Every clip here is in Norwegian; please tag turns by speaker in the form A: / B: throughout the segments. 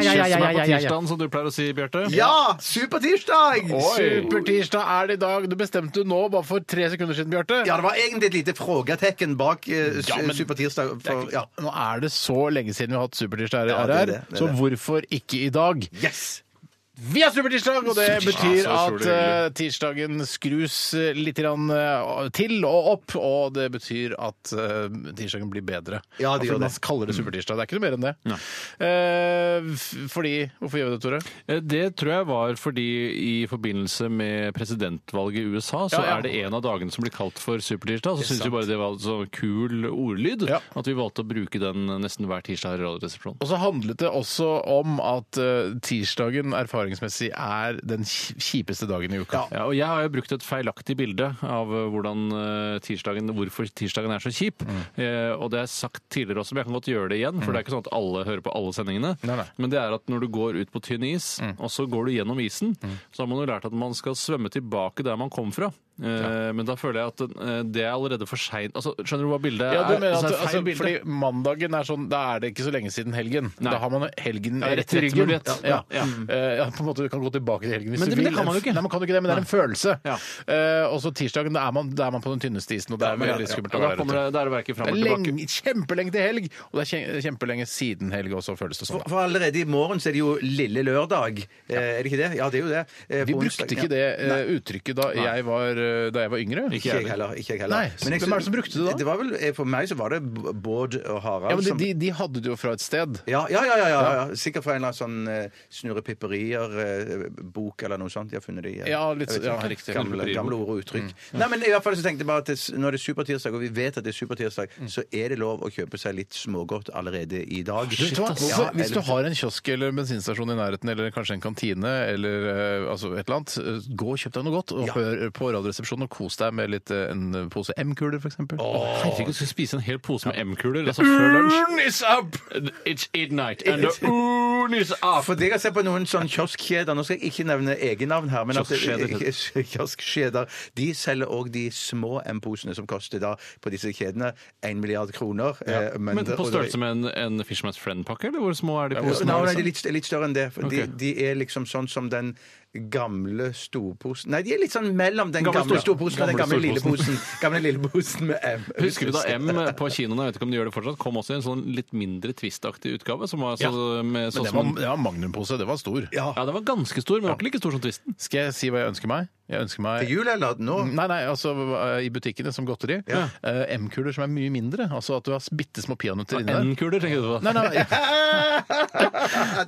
A: Kjøss meg på tirsdagen, som du pleier å si, Bjarte.
B: Ja, Ah, supertirsdag!
A: Supertirsdag er det i dag. Du bestemte jo nå, bare for tre sekunder siden, Bjarte.
B: Ja, det var egentlig et lite frågetekken bak eh,
A: Ja, men-
B: supertirsdag. For, ja.
A: Nå er det så lenge siden vi har hatt Supertirsdag her,
B: Ja, det er det, det er
A: så
B: det.
A: hvorfor ikke i dag?
B: Yes!
A: Vi har Supertirsdag, og det betyr
C: Ja, så
A: at
C: utrolig
A: eh, tirsdagen skrus eh, litt grann, eh, til og opp, og det betyr at eh, tirsdagen blir bedre.
B: Ja,
A: Altså,
B: det gjør det. Mm.
A: Man kaller det Supertirsdag. Det er ikke noe mer enn det. Eh, f- fordi Hvorfor gjør vi det, Tore?
C: Eh, Det tror jeg var fordi i forbindelse med presidentvalget i USA, så
A: Ja, ja.
C: er det en av dagene som blir kalt for supertirsdag. Så syns vi
A: sant.
C: bare det var så kul ordlyd
A: Ja.
C: at vi valgte å bruke den nesten hver tirsdag her i Radioresepsjonen.
A: Og så handlet det også om at eh, tirsdagen erfaringsmessig er den kj- kjipeste dagen i uka.
C: Ja, og jeg har jo brukt et feilaktig bilde av eh, hvordan eh, tirsdagen, hvorfor tirsdagen er så kjip.
A: Mm.
C: Eh, og det er sagt tidligere også, men jeg kan godt gjøre det igjen. For det er ikke sånn at alle hører på alle sendingene.
A: Nei, Mm. nei.
C: Men det er at når du går ut på tynn is, og så går du gjennom isen,
A: Mm.
C: så har man jo lært at man skal svømme tilbake der man kom fra. Eh, Men da føler jeg at eh, det er allerede for seint. Altså, skjønner du hva bildet
A: Ja, du
C: er?
A: mener
C: Så
A: at
C: er det feil
A: altså,
C: bilde.
A: Fordi mandagen er sånn Da er det ikke så lenge siden helgen.
C: Nei.
A: Da har man helgen
C: Ja,
A: rett i ryggen.
C: rettighetsmulighet.
A: Ja.
C: Ja.
A: Eh, ja, på en måte Du kan gå tilbake til helgen hvis
C: Men det-
A: du vil.
C: men det kan man jo ikke.
A: Nei, man kan jo ikke det, men det er en følelse.
C: Ja.
A: Eh, og så tirsdagen, da er, man, da er man på den tynneste isen, og det er veldig skummelt å
C: Og da
A: være
C: kommer
A: ute.
C: det, det er verken
A: Det
C: fram
A: er
C: og tilbake.
A: lenge, kjempelenge til helg, og det er kje- kjempelenge siden helg også, føles det som. da.
B: For, for allerede i morgen så er det jo lille lørdag. Eh, Er det ikke det? Ja, det er jo det. Eh,
A: Vi
B: på onsdag,
A: brukte ikke
B: ja.
A: det eh, uttrykket da jeg, var, eh, da jeg var yngre.
B: Ikke jeg heller. Ikke jeg heller.
A: Nei, så hvem er det som brukte det da?
B: Det var vel, eh, for meg så var det B- Bård og Harald
A: Ja, men de,
B: som
A: de, de hadde det jo fra et sted.
B: ja, ja, ja, ja, ja, ja. Sikkert fra en eller annen sånn eh, snurrepipperier-bok eller noe sånt. De har funnet det i eh,
A: Ja, litt-
B: jeg vet
A: ja,
B: ikke,
A: riktig. Mm.
B: Gamle,
C: Snurrepiperibok.
B: gamle ord og uttrykk. Nei, men i hvert fall så tenkte jeg bare at det, når det er supertirsdag, og vi vet at det er supertirsdag,
A: Mm.
B: så er det lov å kjøpe seg litt smågodt allerede i dag.
A: Du, vet du hva?
B: Ja,
A: Hvorfor, hvis du
B: eller-
A: har en kiosk eller en bensinstasjon i nærheten, eller kanskje en kantine, eller eh, altså et eller annet, eh, gå og kjøp deg noe godt, og hør eh, på Radioresepsjonen og kos deg med litt, eh, en pose M-kuler, f.eks.
C: Herregud, skal spise en hel pose med M-kuler altså før lunsj?
A: Urn is up!
C: It's midnight, and the urn is up!
B: For det jeg har sett på noen sånn kioskkjeder Nå skal jeg ikke nevne egennavn her, men at-
C: Kioskkjeder.
B: kioskkjeder De selger òg de små M-posene som koster da på disse kjedene 1 milliard kroner. eh,
C: Men
B: det-
C: på
B: og det-
C: størrelse med en, en Fisherman's Friend-pakke, eller hvor små er de
B: Nei,
C: posene?
A: sånn.
B: nei, de er litt, litt større enn det. For de,
C: Ok.
B: de er liksom sånn som den gamle storposen Nei, de er litt sånn mellom den gamle,
C: Gamle stor-
B: storposen og den gamle
C: gamle
B: lille posen.
C: storposen.
B: Gamle lille posen med M.
C: Husker du da
A: E-
C: M på kinoene jeg vet ikke om de gjør det fortsatt, kom også i en sånn litt mindre Twist-aktig utgave? Som var så, med,
A: Men
C: sånn
A: det
C: som
A: var,
C: en-
A: det var magnumpose, det var stor.
B: Ja.
C: ja, den var ganske stor, men den var ikke like stor som Twisten.
A: Skal jeg si hva jeg ønsker meg? Jeg ønsker meg
B: Til jul eller nå?
A: Nei, nei, altså eh, i butikkene som godteri. eh, M-kuler som er mye mindre. Altså at du har bitte små peanøtter inni der.
C: N-kuler, tenker du på.
A: Nei, nei,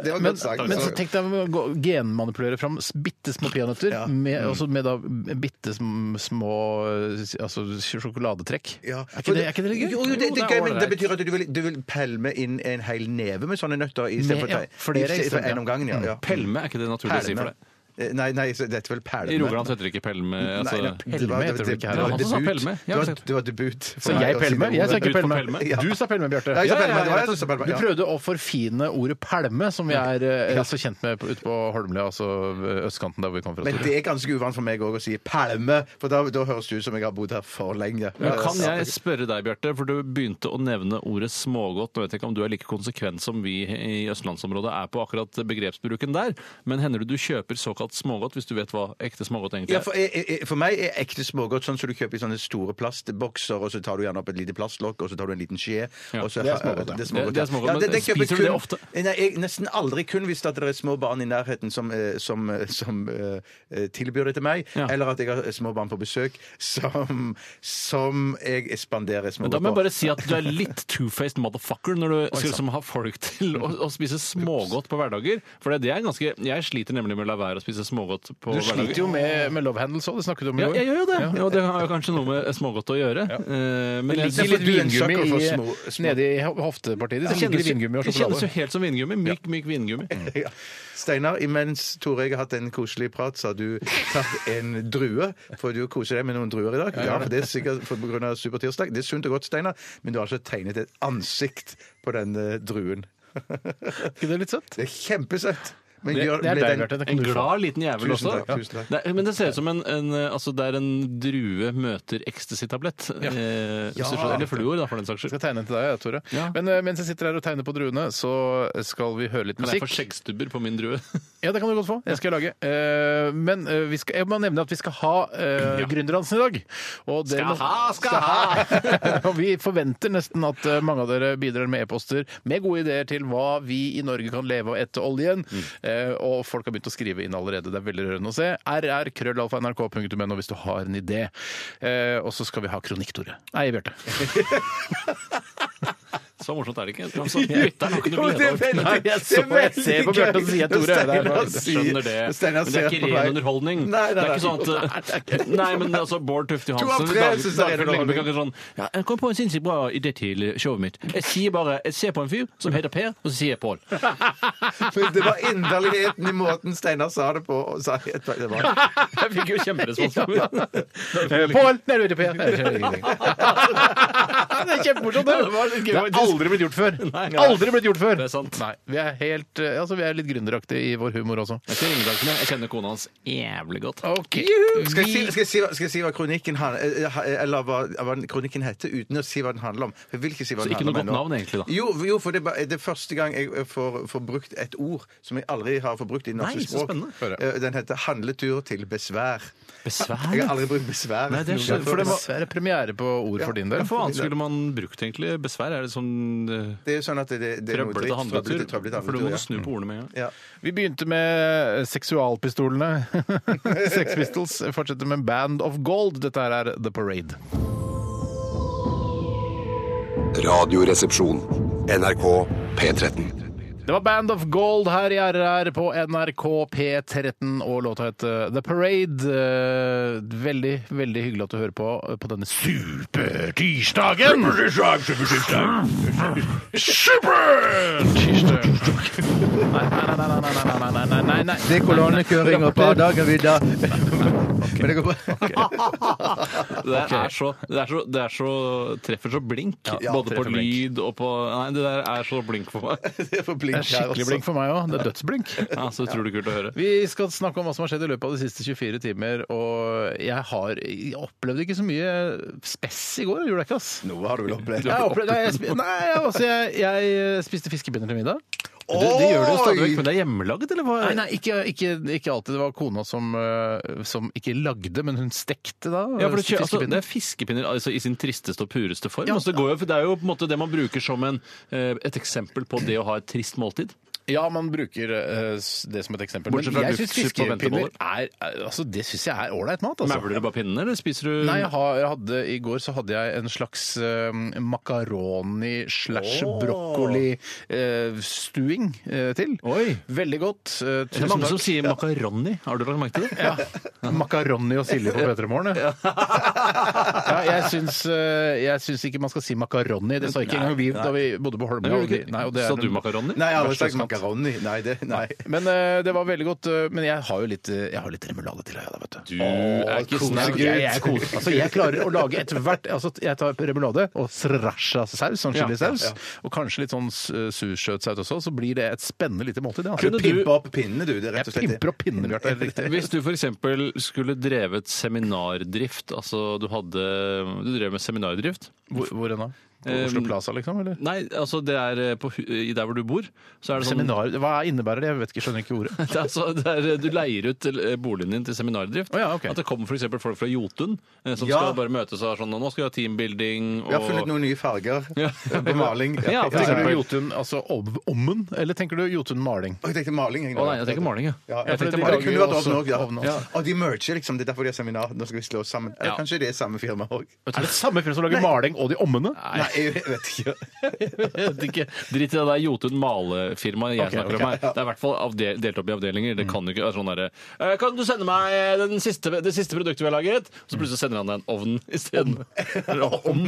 B: Det var
A: Men,
B: godt sagt. altså.
A: men så tenk deg å gå- genmanipulere fram bitte små peanøtter
B: Ja. Mm.
A: med, altså med da bitte sm- små eh, altså, sjokoladetrekk.
B: Ja,
A: Er, ikke
B: for
A: det, er ikke det litt gøy?
B: Jo, jo, det, det,
C: Jo, det
B: er
C: er
B: gøy, men det
C: ålreit.
B: betyr at du vil, du vil pelme inn en hel neve med sånne nøtter istedenfor
A: Med- ja, flere eksempler.
B: én om gangen.
A: Mm.
B: Ja, ja.
C: Pelme er ikke det naturlig å si for deg.
B: Eh, Nei, nei, så dette er vel pelme.
C: I Rogaland heter det ikke Pelme. Altså,
B: Nei, nei, det var-
A: Pelme heter det vel ikke her?
B: det var
C: Han som sa
B: debut.
C: pelme. Jeg
B: Det
C: har
B: var-
C: sett.
B: Det var debut. for
A: Så
B: meg
A: jeg
B: å si
A: pelme? Jeg
B: det
A: sa
B: ordet.
A: ikke
C: Ut på
A: pelme.
C: pelme.
B: Ja.
A: Du sa pelme, Bjarte.
B: Ja, jeg sa pelme, det var jeg
A: ja.
B: som sa pelme,
A: Du
B: ja.
A: prøvde å forfine ordet pelme, som vi er eh, så kjent med på- ute på Holmlia, altså eh, østkanten der hvor vi kommer fra.
B: Men
A: Tore.
B: det er ganske uvant for meg òg å si palme, for da, da høres det ut som jeg har bodd her for lenge.
C: Men kan jeg spørre deg, Bjarte, for du begynte å nevne ordet smågodt. Nå vet jeg ikke om du er like konsekvent som vi i østlandsområdet er på akkurat begrepsbruken der, men hender det du kjøper såkalt smågodt hvis du vet hva ekte smågodt egentlig
B: ja,
C: er?
B: for, jeg, jeg, for meg er ekte smågodt sånn som du kjøper i sånne store plastbokser, og så tar du gjerne opp et lite plastlokk, og så tar du en liten skje
C: Ja,
B: og så,
A: det er smågodt, ja.
B: det er smågodt,
C: Det- det er smågodt, men
B: kjøper
C: spiser du
B: kun-
C: det ofte?
B: Nei, jeg, nesten aldri kun hvis at det er små barn i nærheten som, eh, som, eh, som eh, eh, tilbyr det til meg,
C: Ja.
B: eller at jeg har eh, små barn på besøk som, som jeg spanderer
C: Men da
B: smågodt
C: må jeg bare si at du er litt two-faced motherfucker når du skal liksom ha folk til å, å spise smågodt på hverdager. For det, det er ganske Jeg sliter nemlig med å la være å spise smågodt på
A: Du
C: hverdagen.
A: sliter jo med, med love handles òg, det snakket du om i
C: Ja,
A: går.
C: jeg gjør jo det.
A: Ja.
C: Ja, det har jo kanskje noe med smågodt å gjøre. Eh, Men
A: Det
C: jeg,
A: ligger litt
B: du er en
A: vingummi
B: sucker for
A: i-
B: små- små-
A: nede i ho- hoftepartiet ditt.
C: det,
A: Det ligger
C: kjennes jo,
A: vingummi og
C: det kjennes jo
A: sjokolade.
C: helt som vingummi. Myk, myk vingummi.
B: Ja. Steinar, imens Tore og jeg har hatt en koselig prat, så har du tatt en drue. For du koser deg med noen druer i dag. Ja, for Det er sikkert for på grunn av Supertirsdag. Det er sunt og godt, Steinar, men du har altså tegnet et ansikt på den eh, druen.
A: Ikke det litt søtt?
B: Det er kjempesøtt! Men
A: Det,
B: gjør-
A: det er
B: ble
A: deg,
B: den-
A: Bjarte. Det
C: En
A: kan du få.
C: glad liten jævel
B: Tusen
C: også.
B: takk, tusen takk.
C: Det er, men det ser ut som en, en eh, altså der en drue møter ecstasy-tablett. Eh, hvis du skjønner. Eller fluor, da, for den saks
A: Jeg
C: skyld.
A: skal tegne til deg, jeg, Tore.
C: Ja.
A: Men eh, mens jeg sitter her og tegner på druene, så skal vi høre litt
C: Kan jeg få
A: musikk.
C: skjeggstubber på min drue?
A: Ja, det kan du godt få. Jeg skal lage. Eh, Men eh, vi skal, jeg må nevne at vi skal ha eh, Gründerdansen i dag. Og det må- og vi forventer nesten at eh, mange av dere bidrar med e-poster med gode ideer til hva vi i Norge kan leve av etter oljen. Eh, og folk har begynt å skrive inn allerede. Det er veldig rørende å se. rr.krøllalfa.nrk.no hvis du har en idé. Eh, og så skal vi ha kronikk, Tore. Nei, Bjarte.
C: Så morsomt er det ikke. Altså, lytteren har ikke noe glede av det.
A: Nei, jeg så- jeg ser på Bjarte og sier, Tore, det er bare-
B: Jeg
C: Skjønner det. Men
B: Steinar
C: det
B: ser
C: er ikke
B: på meg.
C: ren underholdning.
B: Nei, nei,
C: Det er ikke
B: nei.
C: sånn at eh, Nei, men altså, Bård Tufte Johansen
B: av tre
C: Dag-
B: synes det er ren
C: Dagfjord Lyngbø kan
B: underholdning.
C: ikke sånn ja, Jeg kom på en sinnssykt bra idé til showet mitt. Jeg sier bare Jeg ser på en fyr som heter Per, og så sier jeg Pål.
B: Men det var inderligheten i måten Steinar sa det på. og sa- Det var
C: Jeg fikk jo kjemperespons.
A: Eh, Pål! Nei, du vet ikke, Per. Jeg skjønner ingenting. Det er kjempemorsomt.
C: Ja, det var litt gøy,
A: det er
C: faktisk.
A: aldri blitt gjort før.
C: Nei.
A: Aldri blitt gjort før.
C: Det er sant.
A: Nei, vi er, helt, eh, altså, vi er litt gründeraktige i vår humor også.
C: Jeg ser Ringdalsene. Jeg kjenner kona hans jævlig godt.
A: Ok.
B: skal jeg, si, skal, jeg si, hva- skal jeg si hva kronikken han- eh, ha- Eller hva, hva den kronikken heter, uten å si hva den handler om? Jeg vil ikke si hva
C: Så
B: den
C: ikke noe
B: handler om
C: godt
B: ennå.
C: navn, egentlig, da.
B: Jo, jo, for det er bare- det er første gang jeg eh, får, får brukt et ord som jeg aldri har forbrukt i norsk
C: Nei, så
B: språk.
C: spennende.
A: Hør,
B: Eh, Den heter 'handletur til besvær'.
C: Besvær?
B: Jeg har aldri brukt besvær.
C: Nei, det er
B: noe
C: skjønt, for
B: før.
C: det var-
A: Dessverre premiere på ord for din del.
C: Ja, for hva annet skulle man brukt, egentlig? Besvær? Er det sånn eh,
B: Det er sånn at det, det, det er noe
C: trøblete
B: dritt,
C: handletur?
B: trøblete, trøblete
C: For du må
B: handletur, ja.
C: snu på ordene med en gang.
B: Ja.
A: Vi begynte med eh, seksualpistolene. Sex Pistols fortsetter med Band of Gold. Dette her er The Parade.
D: Radioresepsjon.
E: NRK P13.
A: Det var Band of Gold her i RR på NRK P13, og låta het eh, The Parade. Eh, Veldig, veldig hyggelig at du hører på eh, på denne supertirsdagen! Supertirsdag, supertirsdag! Supertirsdag! Nei, nei, nei, nei, nei, nei, nei, nei, nei, nei.
B: Det er kolonnekjøring og par dager videre. Men det går bra.
C: Det der er så, det er så, det er så treffer så blink,
B: ja,
C: både på
A: treffer blink.
C: lyd og på Nei, det der er så blink for meg.
B: Det er for blink altså.
A: Det er skikkelig blink for meg òg. Det er dødsblink.
C: Ja, så utrolig kult å høre.
A: Vi skal snakke om hva som har skjedd i løpet av de siste 24 timer, og jeg har jeg opplevde ikke så mye spess i går. Gjorde jeg ikke, ass?
B: Noe har du vel opplevd?
A: Jeg opplevde, nei, jeg, spi- nei, altså, jeg, jeg spiste fiskepinner til middag.
C: Du, det gjør du jo stadig
B: Oi!
C: vekk, men det er hjemmelagd, eller hva?
A: Nei, nei, ikke, ikke, ikke alltid. Det var kona som, eh, som ikke lagde, men hun stekte da.
C: Ja, for det, kjø- altså, det
A: fiskepinner.
C: er fiskepinner altså, i sin tristeste og pureste form. Altså, det, går jo, for det er jo på en måte det man bruker som en, eh, et eksempel på det å ha et trist måltid.
A: ja, man bruker eh, s- det som et eksempel.
C: Bortsett fra
A: men jeg syns
C: luftsuppe og
A: fiskepinner er, er- altså, det synes jeg er ålreit mat. Altså.
C: Mævler du bare pinnen, eller spiser du
A: Nei, jeg har, jeg hadde, I går så hadde jeg en slags eh, makaroni slash brokkoli-stuing eh, til.
C: Oi.
A: Veldig godt. eh,
C: Det er
A: tusen
C: mange som
A: takk.
C: sier makaroni. Har du lagt merke til det?
A: Ja. Makaroni og silje på P3morgen. Ja. Ja, jeg, syns, eh, jeg syns ikke man skal si makaroni. Det sa ikke engang vi da vi bodde på Holmlia.
C: Nei,
A: og vi- nei, og det er
C: Sa du
A: en-
C: makaroni?
B: Nei, jeg har aldri
A: Verste
B: sagt makaroni. Nei, det, nei.
A: Men eh, det var veldig godt. eh, men jeg har jo litt, eh, jeg har litt remulade til deg, da, vet du.
C: Du er ikke sånn snau.
A: Jeg, jeg, er kos, altså, jeg klarer å lage ethvert altså, Jeg tar remulade og sriracha-saus, sånn
C: Ja,
A: chilisaus, og kanskje litt sånn s- sursøt saus også, så blir det et spennende lite måltid. det,
C: Kunne
A: Altså.
C: du-
B: Pimpe opp pinnene, du. Det er rett
A: Jeg
B: og slett det.
A: pimper og pinner, Bjarte. helt riktig.
C: Hvis du f.eks. skulle drevet seminardrift, altså du hadde Du drev med seminardrift.
A: Hvor, hvor enn da? På Oslo
C: Um,
A: Plaza, liksom? Eller?
C: Nei, altså det er eh, på, hu- i der hvor du bor. Så er det sånn
A: Seminar, hva innebærer det? Jeg vet ikke, skjønner ikke ordet.
C: Det er altså, det er, du leier ut til, eh, boligen din til seminardrift.
A: Å ja, ok.
C: At det kommer for eksempel folk fra Jotun eh, som
B: Ja.
C: skal bare møtes og er sånn Nå skal vi ha teambuilding og
B: Vi har funnet noen nye farger
C: Ja.
B: på maling.
C: Ja, for
A: Tenker du
C: eksempel.
A: Jotun altså om- ommen, eller tenker du Jotun maling?
B: Og jeg tenkte maling.
C: Å nei, jeg tenker maling, jeg.
B: Ja,
C: jeg
A: for de
C: tenkte
B: Det
C: maling.
A: lager-
B: kunne vært
A: Også
B: ovn òg, ja.
A: ovn også.
B: ja. Og de merger, liksom. Det er derfor de har seminar. Nå skal vi slå oss sammen. Eller
C: Ja.
B: kanskje det er samme firma òg.
A: Er det samme fyr som lager maling og de ommene?
C: Nei,
B: jeg vet ikke.
C: Jeg vet ikke. Drit i det der Jotun malefirmaet jeg
A: Ok,
C: snakker
A: ok,
C: om her. Det er i hvert fall avde- delt opp i avdelinger. Det kan jo ikke være sånn derre «Eh, Kan du sende meg den siste, det siste produktet vi har laget? Så plutselig sender han deg en ovn isteden. Eller om.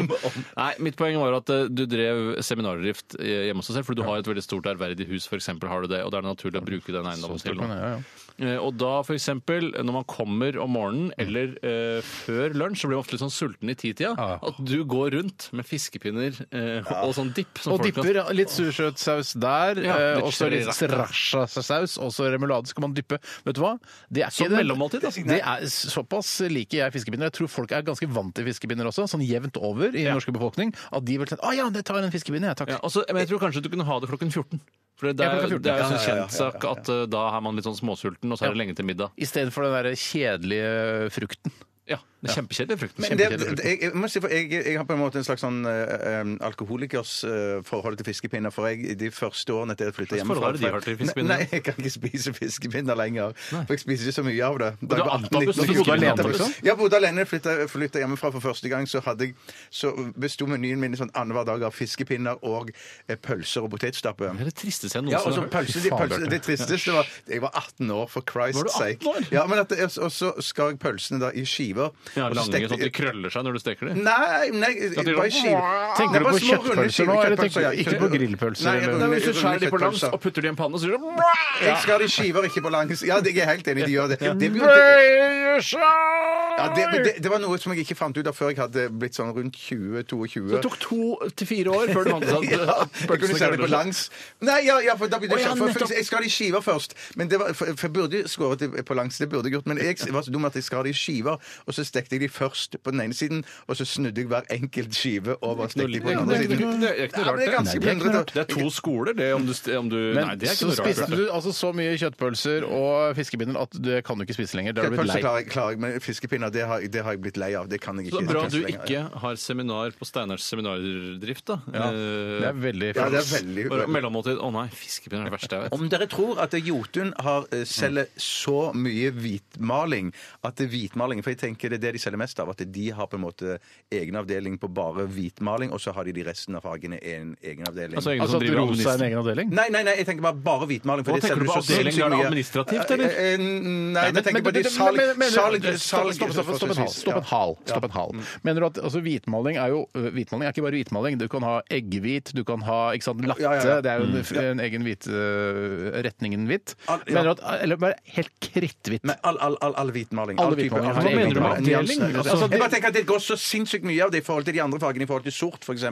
C: Nei, mitt poeng var at eh, du drev seminardrift eh, hjemme hos deg selv, for du har et veldig stort ærverdig hus, f.eks. har du det, og det er naturlig å bruke den eiendommen til
A: men
C: noe.
A: ja, ja.
C: Eh, Og da for eksempel, når man kommer om morgenen eller eh, før lunsj, så blir man ofte litt sånn sulten i titida.
A: Ja.
C: At du går rundt med fiskepinner eh, og sånn dipp. som
A: Og
C: folk kan-
A: dipper litt sursøtsaus der,
C: Ja,
A: eh,
C: litt
A: og så litt
C: sriracha.
A: sriracha-saus, og så remulade skal man dyppe. Vet du hva? Det er
C: Som
A: det-
C: mellommåltid, altså.
A: Det er såpass liker jeg fiskepinner. Jeg tror folk er ganske vant til fiskepinner også, sånn jevnt over i den norske befolkning, at de vil si «Å ja, det tar en fiskepinne, ja, takk.
C: Ja, altså, men jeg tror kanskje du kunne ha det klokken 14. For det er,
A: Ja, klokken 14.
C: det er jo
A: Ja,
C: sånn kjent sak at eh, da er man litt sånn småsulten, og så er det lenge til middag.
A: I stedet for den der kjedelige frukten.
C: Ja, det er Kjempekjedelig frukt.
B: Men det, det, jeg, jeg, må si, for jeg, jeg har på en måte en slags sånn eh, em, alkoholikers eh, forhold til fiskepinner. For jeg, de første årene etter jeg flytta
C: Hva slags
B: hjemmefra
C: forhold er det de har til fiskepinner?
B: Nei, nei, jeg kan ikke spise fiskepinner lenger. For jeg spiser ikke så mye av det. Da
C: du
B: jeg var 18,
C: antabus-
B: 19,
C: du bodde
B: 20,
C: alene,
B: antabus.
C: liksom?
B: Ja, bodde alene. Flytta hjemmefra for første gang, så, hadde jeg, så besto menyen min sånn annenhver dag av fiskepinner og eh, pølser og potetstappe.
C: det er det tristeste jeg
B: Ja, altså,
C: noensinne har
B: og så
C: hørt.
B: pølse, de
C: Fy faen,
B: pølse,
C: Bjarte.
B: det tristeste var Jeg var 18 år, for
C: Var du 18
B: Christ's sake.
C: år?
B: Ja, men at det, og så skar jeg pølsene da i skiver.
C: Ja,
B: og så
C: lange,
B: stekte-
C: sånn at de krøller seg når du steker dem.
B: altså, Nei, nei
C: At de
B: bare
C: sånn-
B: skiver.
A: Tenker
B: Nei,
A: du
B: bare
A: på
B: små, runde
A: kjøttpølser nå,
B: skiver,
A: eller
B: kjøttpølser,
A: tenker
B: ja,
A: du ikke på grillpølser?
B: Nei,
A: eller-
B: runde-
C: Hvis du skjærer de på langs
B: kjøttpølser.
C: og putter de i en panne, så gjør de
B: Jeg skar i skiver, ikke på langs. Ja, det- jeg er helt enig, de gjør det. Det, blir jo- det,
A: Bøyer seg!
B: ja, det, men det, det var noe som jeg ikke fant ut av før jeg hadde blitt sånn rundt 20-22.
C: Det tok to til fire år før du fant ut at
B: Ja,
A: sånn-
C: at
B: jeg kunne se det på langs. Nei, ja, ja for da blir det
C: Å, ja,
B: sånn- for, for,
C: nettopp.
B: Jeg skar det i skiver først. Men det var, for, for jeg burde skåret det på langs, det burde jeg gjort. Men jeg var så dum at jeg skar det i skiver, og så stekte jeg de først på den ene siden, og så snudde jeg hver enkelt skive over og stekte de på den
C: Ja,
B: andre
C: det er ikke
B: siden.
C: noe- det er ikke noe
B: Ja, men det er
C: rart,
B: ganske
C: det. Nei, det er ikke noe
B: plundret,
C: rart. Det er to skoler, det, om du, st- om du
A: Men
C: Nei, det er
A: så
C: ikke noe rart.
A: spiste
C: Bjarte.
A: du altså så mye kjøttpølser og fiskepinner at det kan du ikke spise lenger. Det har du blitt
B: Pølse
A: lei.
B: klarer jeg, klarer jeg, men fiskepinner det har, jeg- det har jeg blitt lei av. Det kan jeg
C: Så
B: ikke.
C: bra du
B: spise lenger.
C: ikke har seminar på Steinars seminardrift, da.
A: Ja,
C: Eh,
A: det er veldig
B: Ja, det er
A: flaks.
B: veldig
C: Bare mellommåltid. Å nei, fiskepinner er det verste jeg vet.
B: Om dere tror at Jotun har eh, selger så mye hvitmaling at det er hvitmaling, For jeg tenker det er det de selger mest av. At de har på en måte egen avdeling på bare hvitmaling, og så har de de resten av fagene i en egen avdeling.
C: Altså, egne
A: Altså
C: som
A: at
C: driver
A: rosa er en
C: administ-
A: egen avdeling?
B: Nei, nei, nei, jeg tenker bare bare hvitmaling. For
C: Hva
B: det
C: tenker
B: selger
C: du på
B: så
C: avdeling?
B: sinnssykt
C: Er det
B: mye.
C: administrativt, eller?
B: Eh, eh, Nei,
A: Men-
B: jeg tenker
A: men-
B: på de
A: men-
B: salg...
A: men- men-
B: salg,
A: Stopp,
B: salg Mm.
A: stopp, stopp, stopp en hal. Stopp en hal. Stopp en hal. Mener du at altså, hvitmaling er jo øh, Hvitmaling er ikke bare hvitmaling. Du kan ha eggehvit, du kan ha ikke sant, latte.
B: Ja, ja, ja.
A: Det er jo en, en egen hvit øh, retningen hvitt.
B: Al- Ah, ja.
A: Mener du at Eller bare helt kritthvitt.
B: Nei, all, all, all, all hvitmaling.
A: Alle
B: All type-
A: hvitmaling.
B: all
A: Hva
B: type
A: mener du med
B: hvitmaling.
C: avdeling?
B: Nyanser.
C: Altså,
B: jeg bare tenker at Det går så sinnssykt mye av det i forhold til de andre fagene, i forhold til sort f.eks.,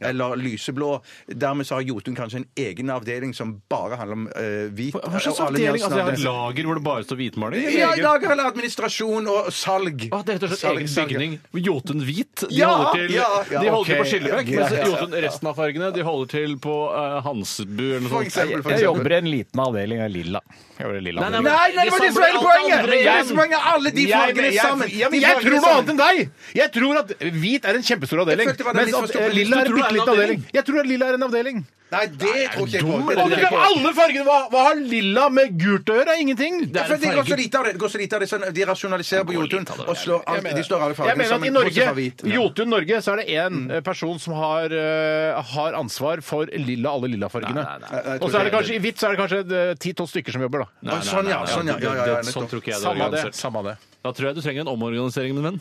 B: eller lyseblå. Dermed så har Jotun kanskje en egen avdeling som bare handler om eh, hvit.
C: Hva slags
B: og alle
C: avdeling? Altså, jeg
B: nyansene av
C: har et
B: det.
C: lager hvor det bare står hvitmaling? eller
B: ja,
C: egen-
B: lager eller administrasjon og salg.
C: Å, det er rett og slett
B: Salg,
C: egen
B: salg.
C: bygning. Jotun hvit. De
B: Ja,
C: holder til,
B: ja, ja,
C: de holder til
B: ok.
C: på Skillebekk.
B: Ja, ja, ja,
C: Mens
B: ja.
C: Jotun, resten av fargene, de holder til på eh, Hansbu eller
B: For
C: noe sånt.
B: eksempel, for
A: Jeg
B: eksempel.
A: jobber i en liten avdeling av lilla. Jeg jobber i lilla
C: Nei, nei,
A: avdeling.
B: Nei, nei, det var det som var hele poenget! Det er så mange av alle de
A: Jeg-
B: fargene
A: jeg-
B: sammen.
A: Ja, men
B: De
A: jeg
B: fargene
A: tror noe
B: sammen.
A: annet enn deg! Jeg tror at hvit er en kjempestor avdeling.
B: Jeg følte det var
A: Mens
B: litt
A: at
B: forstått.
A: eh, lilla er
C: Du
A: en
C: tror det
A: bitte
C: er en
A: liten avdeling.
C: avdeling?
A: Jeg tror at lilla er en avdeling.
B: Nei, det tror ikke jeg på. Det
A: Og
B: tror
A: du
B: jeg
A: kan
B: på.
A: alle fargene! Hva, hva har lilla med gult å gjøre? Ingenting!
B: Ja, for Det går så lite av det. det, går så lite av det sånn, de rasjonaliserer på Jotun og slår alt, de slår alle
A: Jeg
B: fargene
A: mener at i
B: sammen. bortsett fra
A: Norge,
B: hvit. Ja.
A: Jotun Norge, så er det én eh, person som har, eh, har ansvar for lilla, alle lillafargene.
B: nei.
A: Og så er det kanskje i hvitt så er det kanskje ti-tolv stykker som jobber, da.
C: Nei, nei, nei,
B: Sånn, ja,
C: nei,
B: sånn, ja,
C: det-
B: ja, ja, ja,
C: det- Sånn
B: nettopp.
C: tror ikke jeg det er
A: Samme det.
C: organisert.
A: Samme det.
C: Da tror jeg du trenger en omorganisering, min venn.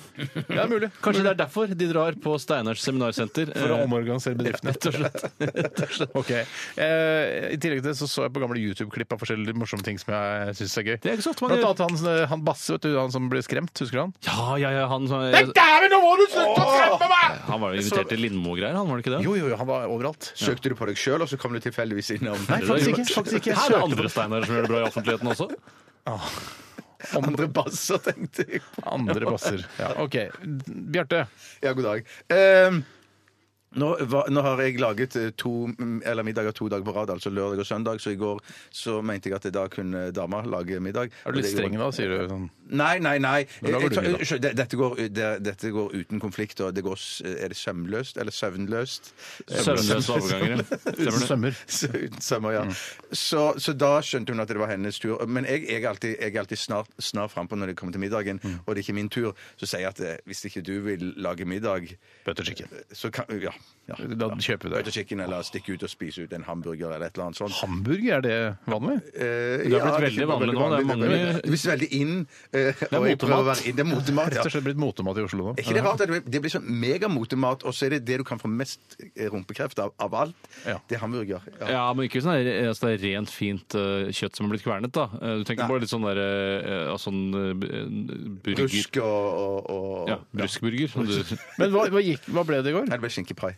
A: Ja, mulig.
C: Kanskje det er derfor de drar på Steinars seminarsenter.
A: For å
C: eh,
A: omorganisere bedriftene.
C: Rett og slett. Rett og slett.
A: Ok. Eh, I tillegg til det så, så jeg på gamle YouTube-klipp av forskjellige morsomme ting som jeg syns er gøy.
C: Det er ikke så ofte man
A: Blant
C: gjør.
A: annet han, eh, han Basse, vet du, han som ble skremt. Husker du han?
C: Eh, Ja, ja, ja, han,
A: Dæven, nå må du slutte å skremme meg!
C: han var jo invitert til Lindmo-greier, han var det ikke det?
A: Jo, jo, jo, han var overalt.
B: Søkte du på deg sjøl, og så kom du tilfeldigvis innom?
A: Nei, faktisk ikke. Faktisk ikke. Jeg
C: Her er det
A: søkte
C: andre Steinar som gjør det bra i offentligheten også.
A: på andre,
B: Andre basser, tenkte jeg.
A: andre basser. Ja, OK. Bjarte.
B: Ja, god dag. Ehm, nå, var- nå har jeg laget eh, to mm, eller middager to dager på rad, altså lørdag og søndag, så i går så mente jeg at da kunne dama lage middag.
A: Er du litt streng da, sier du? Sånn.
B: Nei, nei, nei.
A: Men da går
B: Jeg-
A: du
B: jeg-
A: middag.
B: unnskyld, det- Dette går, det, dette går uten konflikt, og det går, s- er det sømløst eller søvnløst?
C: Søvnløse overganger. Stemmer
A: Sømmer.
C: det?
B: Så, uten sømmer, ja. så, så da skjønte hun at det var hennes tur. Men jeg, jeg er alltid, jeg er alltid snart, snart frampå når det kommer til middagen,
C: Mm.
B: og det er ikke min tur. Så sier jeg at eh, hvis ikke du vil lage middag,
A: Bøtterskikken.
B: så kan Ja,
A: Da kjøper vi
B: Bøtte
A: det.
B: chicken eller stikke ut og spise ut en hamburger eller et eller annet sånt.
A: Hamburger, er det vanlig?
C: Det
B: Eh,
C: har
B: ja,
C: blitt veldig
B: det
C: vanlig nå, det er
B: vanlig,
C: mange-
B: veldig- Det blir så veldig inn. eh, og jeg prøver å
A: motemat.
B: være inn- Det er motemat.
A: Rett
B: Ja.
A: og slett blitt motemat i Oslo nå.
B: Er ikke det rart? at Det blir- det blir sånn megamotemat, og så er det det du kan få mest eh, rumpekreft av, av alt.
A: Ja.
B: Det er hamburger. Ja.
C: Ja, men ikke sånn der, altså det er rent fint eh, kjøtt som har blitt kvernet, da. Eh, Du tenker
B: Nei.
C: bare litt sånn der eh, altså sånn eh, burger.
B: Brusk og, og, og
C: Ja, bruskburger. som du-
A: Men hva, hva, gikk, hva ble det i går?
B: Nei, det ble skinkepai.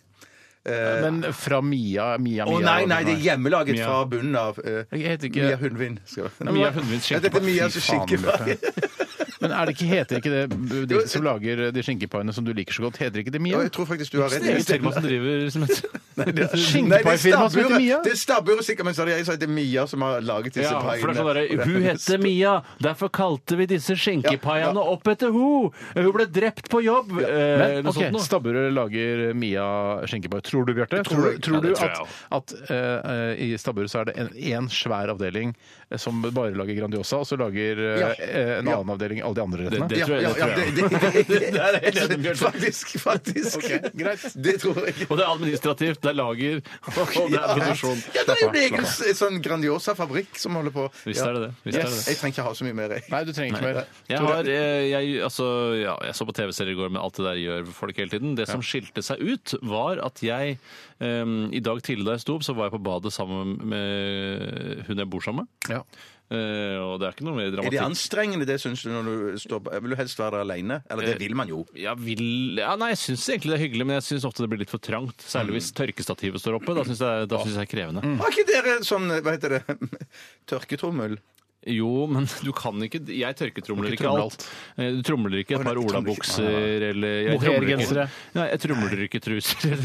A: Men fra Mia Mia, Mia
B: Å nei, nei, det er hjemmelaget
C: Mia.
B: fra bunnen av. eh,
A: Jeg heter ikke-
B: Mia Hundvin. skal vi-
C: Mia Hundvins
B: Ja, dette er Mia
A: skinkepai. Fy faen,
B: skinkepai.
A: Men er det ikke, heter ikke det de som lager de skinkepaiene som du liker så godt, heter ikke det
B: Jo,
A: Mia?
B: Jeg tror faktisk du har rett.
C: Det er eget firma som driver som heter
A: Skinkepaiefirma som heter
B: stabburet.
A: Mia?
B: Det er stabburet, sikkert, men så er det jeg som heter Mia som har laget disse
C: Ja, for det er sånn
B: paiene.
C: derre, Hun heter Mia, derfor kalte vi disse
B: Ja,
C: skinkepaiene
B: ja.
C: opp etter ho Hun ble drept på jobb! eh, eller
A: Men
C: noe
A: ok,
C: sånt noe.
A: Stabburet lager Mia skinkepai. Tror du, Bjarte?
B: tror
A: Tror,
B: jeg.
A: tror
C: Ja,
A: du
C: det tror jeg
A: at, at eh, i Stabburet så er det en, en svær avdeling eh, som bare lager Grandiosa, og så lager eh,
B: Ja.
A: en
B: Ja.
A: annen avdeling alle de andre rettene?
C: det- tror jeg- det tror jeg.
B: det,
C: helt enig, Bjørn.
B: Faktisk, faktisk.
A: Ok, greit.
B: Det tror jeg.
C: Og det er administrativt, det er lager, og det er produksjon.
B: Ja, det er jo en egen s- sånn Grandiosa fabrikk som holder på.
C: Visst er det det. Visst er det det.
B: Jeg trenger ikke ha så mye mer. jeg.
A: Nei, du trenger ikke mer.
C: Jeg,
A: Tore?
C: har, eh, jeg, altså, ja, jeg så på TV-serier i går, men alt det der gjør folk hele tiden. Det som skilte seg ut, var at jeg em, i dag tidlig da jeg sto opp, så var jeg på badet sammen med hun jeg bor sammen med.
A: Ja.
C: Eh, og det er ikke noe mer
B: Er
C: dramatikk.
B: det anstrengende, det syns du, når du står på Vil du helst være der aleine? Eller
C: Eh.
B: det vil man jo.
C: Jeg vil, ja, nei, jeg syns egentlig det er hyggelig, men jeg syns ofte det blir litt for trangt.
A: Mm.
C: Særlig hvis tørkestativet står oppe. Da syns jeg, da synes jeg det er krevende.
B: Har ikke dere sånn, hva heter det, tørketrommel?
C: Jo, men du kan ikke Jeg tørketromler
A: Du kan ikke
C: ikke
A: tromle
C: alt. Eh, Du tromler ikke
B: Å,
C: et
B: nei,
C: par
B: du tromler ikke.
C: olabukser eller jeg tromler ikke-
A: Mohairgensere.
C: Nei, jeg tromler ikke truser.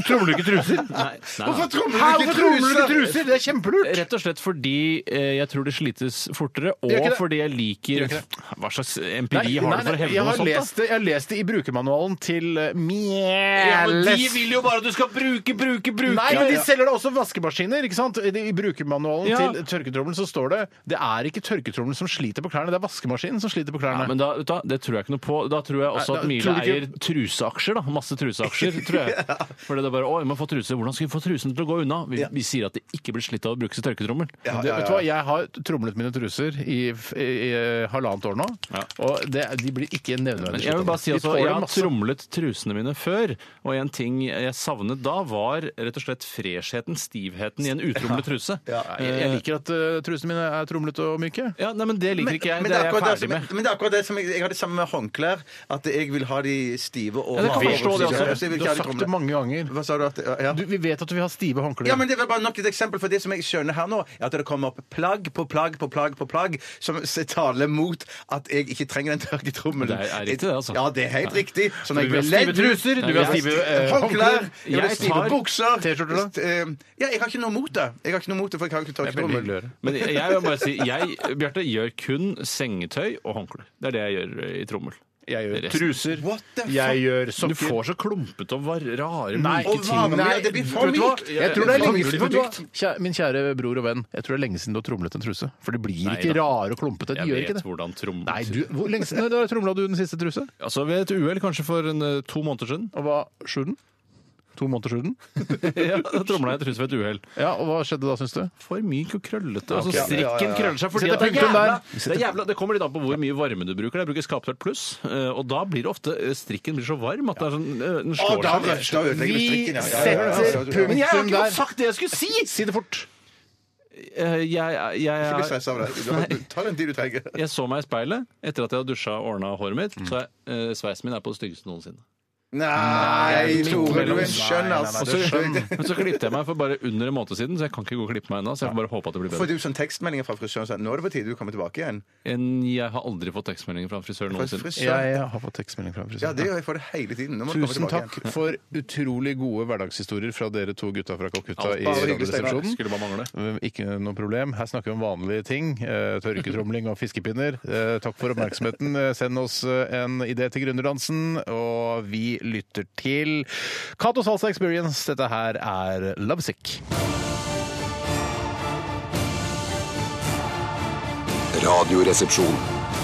C: tromler du ikke truser? Nei. nei, nei.
B: tromler du
A: Tromler du truser? Det er kjempelurt!
C: Rett og slett fordi eh, jeg tror det slites fortere,
A: gjør ikke
C: og
A: det.
C: fordi jeg
A: gjør
C: liker
A: ikke
C: Hva slags empiri har du for å hevde
A: jeg
C: noe
A: har,
C: sånt? da?
A: lest det, jeg har lest det i brukermanualen til eh,
C: Ja, men
A: Mjæles.
C: de vil jo bare at du skal bruke, bruke, bruke!
A: Nei, men de selger da også vaskemaskiner. ikke sant? I, i brukermanualen
C: Ja.
A: til tørketrommelen så står det det er ikke tørketrommelen som sliter på klærne, det er vaskemaskinen som sliter på
C: Ja,
A: klærne.
C: men da, vet du hva, Det tror jeg ikke noe på. Da tror jeg også
A: Nei, da
C: at Mile
A: tror du
C: eier
A: ikke-
C: truseaksjer. da, Masse truseaksjer, tror jeg. Fordi det er bare Oi, man får truse. Hvordan skal vi få trusen til å gå unna? Vi, vi sier at det ikke blir slitt av å bruke sin tørketrommel.
A: Det- Vet du hva, Jeg har tromlet mine truser i, i, i eh, halvannet år nå,
C: Ja.
A: og det, de blir ikke nevneverdig
C: Men jeg vil bare si
A: De
C: altså,
A: tåler
C: jeg har
A: masse.
C: tromlet trusene mine før, og en ting jeg savnet da, var rett og slett fresheten, stivheten, i en utromlet truse.
A: Ja, jeg, jeg liker at eh, trusene mine er tromlet og myke.
C: Ja, nei, men Det liker ikke jeg.
B: Men
C: Det er jeg
B: akkurat
C: ferdig
B: som-
C: med.
B: Men det er akkurat det som jeg, jeg har det samme med håndklær. At jeg vil ha de stive og
C: Ja, det kan jeg forstå, det altså. også.
B: Ja, så jeg vil
A: Du
B: ikke ha
A: har
B: de
A: sagt det
B: tromlene.
A: mange ganger.
B: Hva sa du? At, ja.
A: Du, vi vet at vi har stive håndklær.
B: Ja, men Det er vel bare nok et eksempel for det som jeg skjønner her nå, er at det kommer opp plagg på plagg på plagg på plagg som s- taler mot at jeg ikke trenger den tørketrommelen.
C: Det er riktig det, altså.
B: Ja, det er helt riktig. Sånn at jeg
A: Du vil
B: vil
A: ha
B: ledd
A: stive truser, du vil ha stive, eh,
B: håndklær,
A: håndklær.
B: jeg vil ha
C: Jeg
B: stive
C: tar
B: bukser
A: T-skjorter, da?
B: st- eh, Ja, jeg har ikke noe mot det. Jeg har ikke noe mot det, for jeg har ikke
A: Det er veldig hyggelig å
B: tørketrommel.
A: høre.
C: Men jeg, jeg vil bare si, jeg, Bjarte, gjør kun sengetøy og håndkle. Det er det jeg gjør eh, i trommel.
A: Jeg gjør
C: Resten.
A: truser.
B: What the fuck?
A: Jeg gjør
C: Du
A: sokker.
C: får så klumpete og var- rare,
A: Nei,
C: myke
B: og
C: ting.
B: varme.
A: Nei,
B: Ja, det blir for
A: vet du hva?
B: mykt.
A: Jeg tror det er
C: For
A: lenge
C: mykt,
A: siden
C: for mykt.
A: Kjære- Min kjære bror og venn, jeg tror det er lenge siden du har tromlet en truse. For de blir
C: Nei
A: ikke
C: da.
A: rare og klumpete. De
C: Jeg
A: gjør
C: vet
A: ikke det.
C: hvordan trommel
A: Nei, du, hvor lenge siden har tromla du den siste truse?
C: Altså, Ved et uhell kanskje for en, eh, to måneder siden.
A: Og hva slo den? To måneder siden?
C: ja, da tromla jeg truse ved et uhell.
A: Ja, og hva skjedde da, syns du?
C: For myk og krøllete.
A: ok.
C: Altså, strikken
B: Ja, ja, ja.
C: krøller seg fordi
A: Setter
C: at det er
A: punktum
C: jævla,
A: der.
C: det er jævla Det kommer litt an på hvor mye varme du bruker. Jeg bruker skaptørt pluss, eh, og da blir det ofte eh, strikken blir så varm at det er sånn, eh, den
B: Å,
C: slår
B: da
C: seg.
B: røsker jeg og ødelegger
A: Vi
B: strikken. ja, ja, ja, ja, ja, ja, ja, ja.
A: setter punktum.
C: Men jeg har ikke
A: der.
C: fått sagt det jeg skulle si!
A: Si det fort!
C: Eh, Jeg, jeg,
B: Ikke bli
C: jeg,
B: stressa av det. Du har- Ta den tid du trenger.
C: jeg så meg i speilet etter at jeg hadde dusja og ordna håret mitt. Så jeg, eh, sveisen min er på det styggeste noensinne.
B: Nei, Tore, du
C: mellom-
B: er skjønn,
C: Og så,
B: altså.
C: men så klippet jeg meg for bare under en måned siden, så jeg kan ikke gå og klippe meg ennå. Så jeg får bare håpe at det blir
B: Får
C: bedre.
B: du sånn tekstmeldinger fra frisøren som sier nå er det på tide du kommer tilbake igjen?
C: En- Jeg har aldri fått tekstmeldinger fra en frisør
B: Fra
C: noensinne.
B: frisøren?
A: har fått tekstmelding fra
B: Ja, det gjør jeg for det hele tiden. Nå må du komme
A: Tusen
B: tilbake
A: takk
B: igjen.
A: for utrolig gode hverdagshistorier fra dere to gutta fra Calcutta i
B: Alt bare hyggelig, Steinar.
A: Radioresepsjonen.
C: Skulle bare mangle.
A: Eh, Ikke noe problem. Her snakker vi om vanlige ting. Eh, Tørketromling og fiskepinner. Eh, Takk for oppmerksomheten. Eh, Send oss eh, en idé til Gründerdansen, og vi lytter til Cato Salsa Experience. Dette her er Lovesick.
D: Radioresepsjon.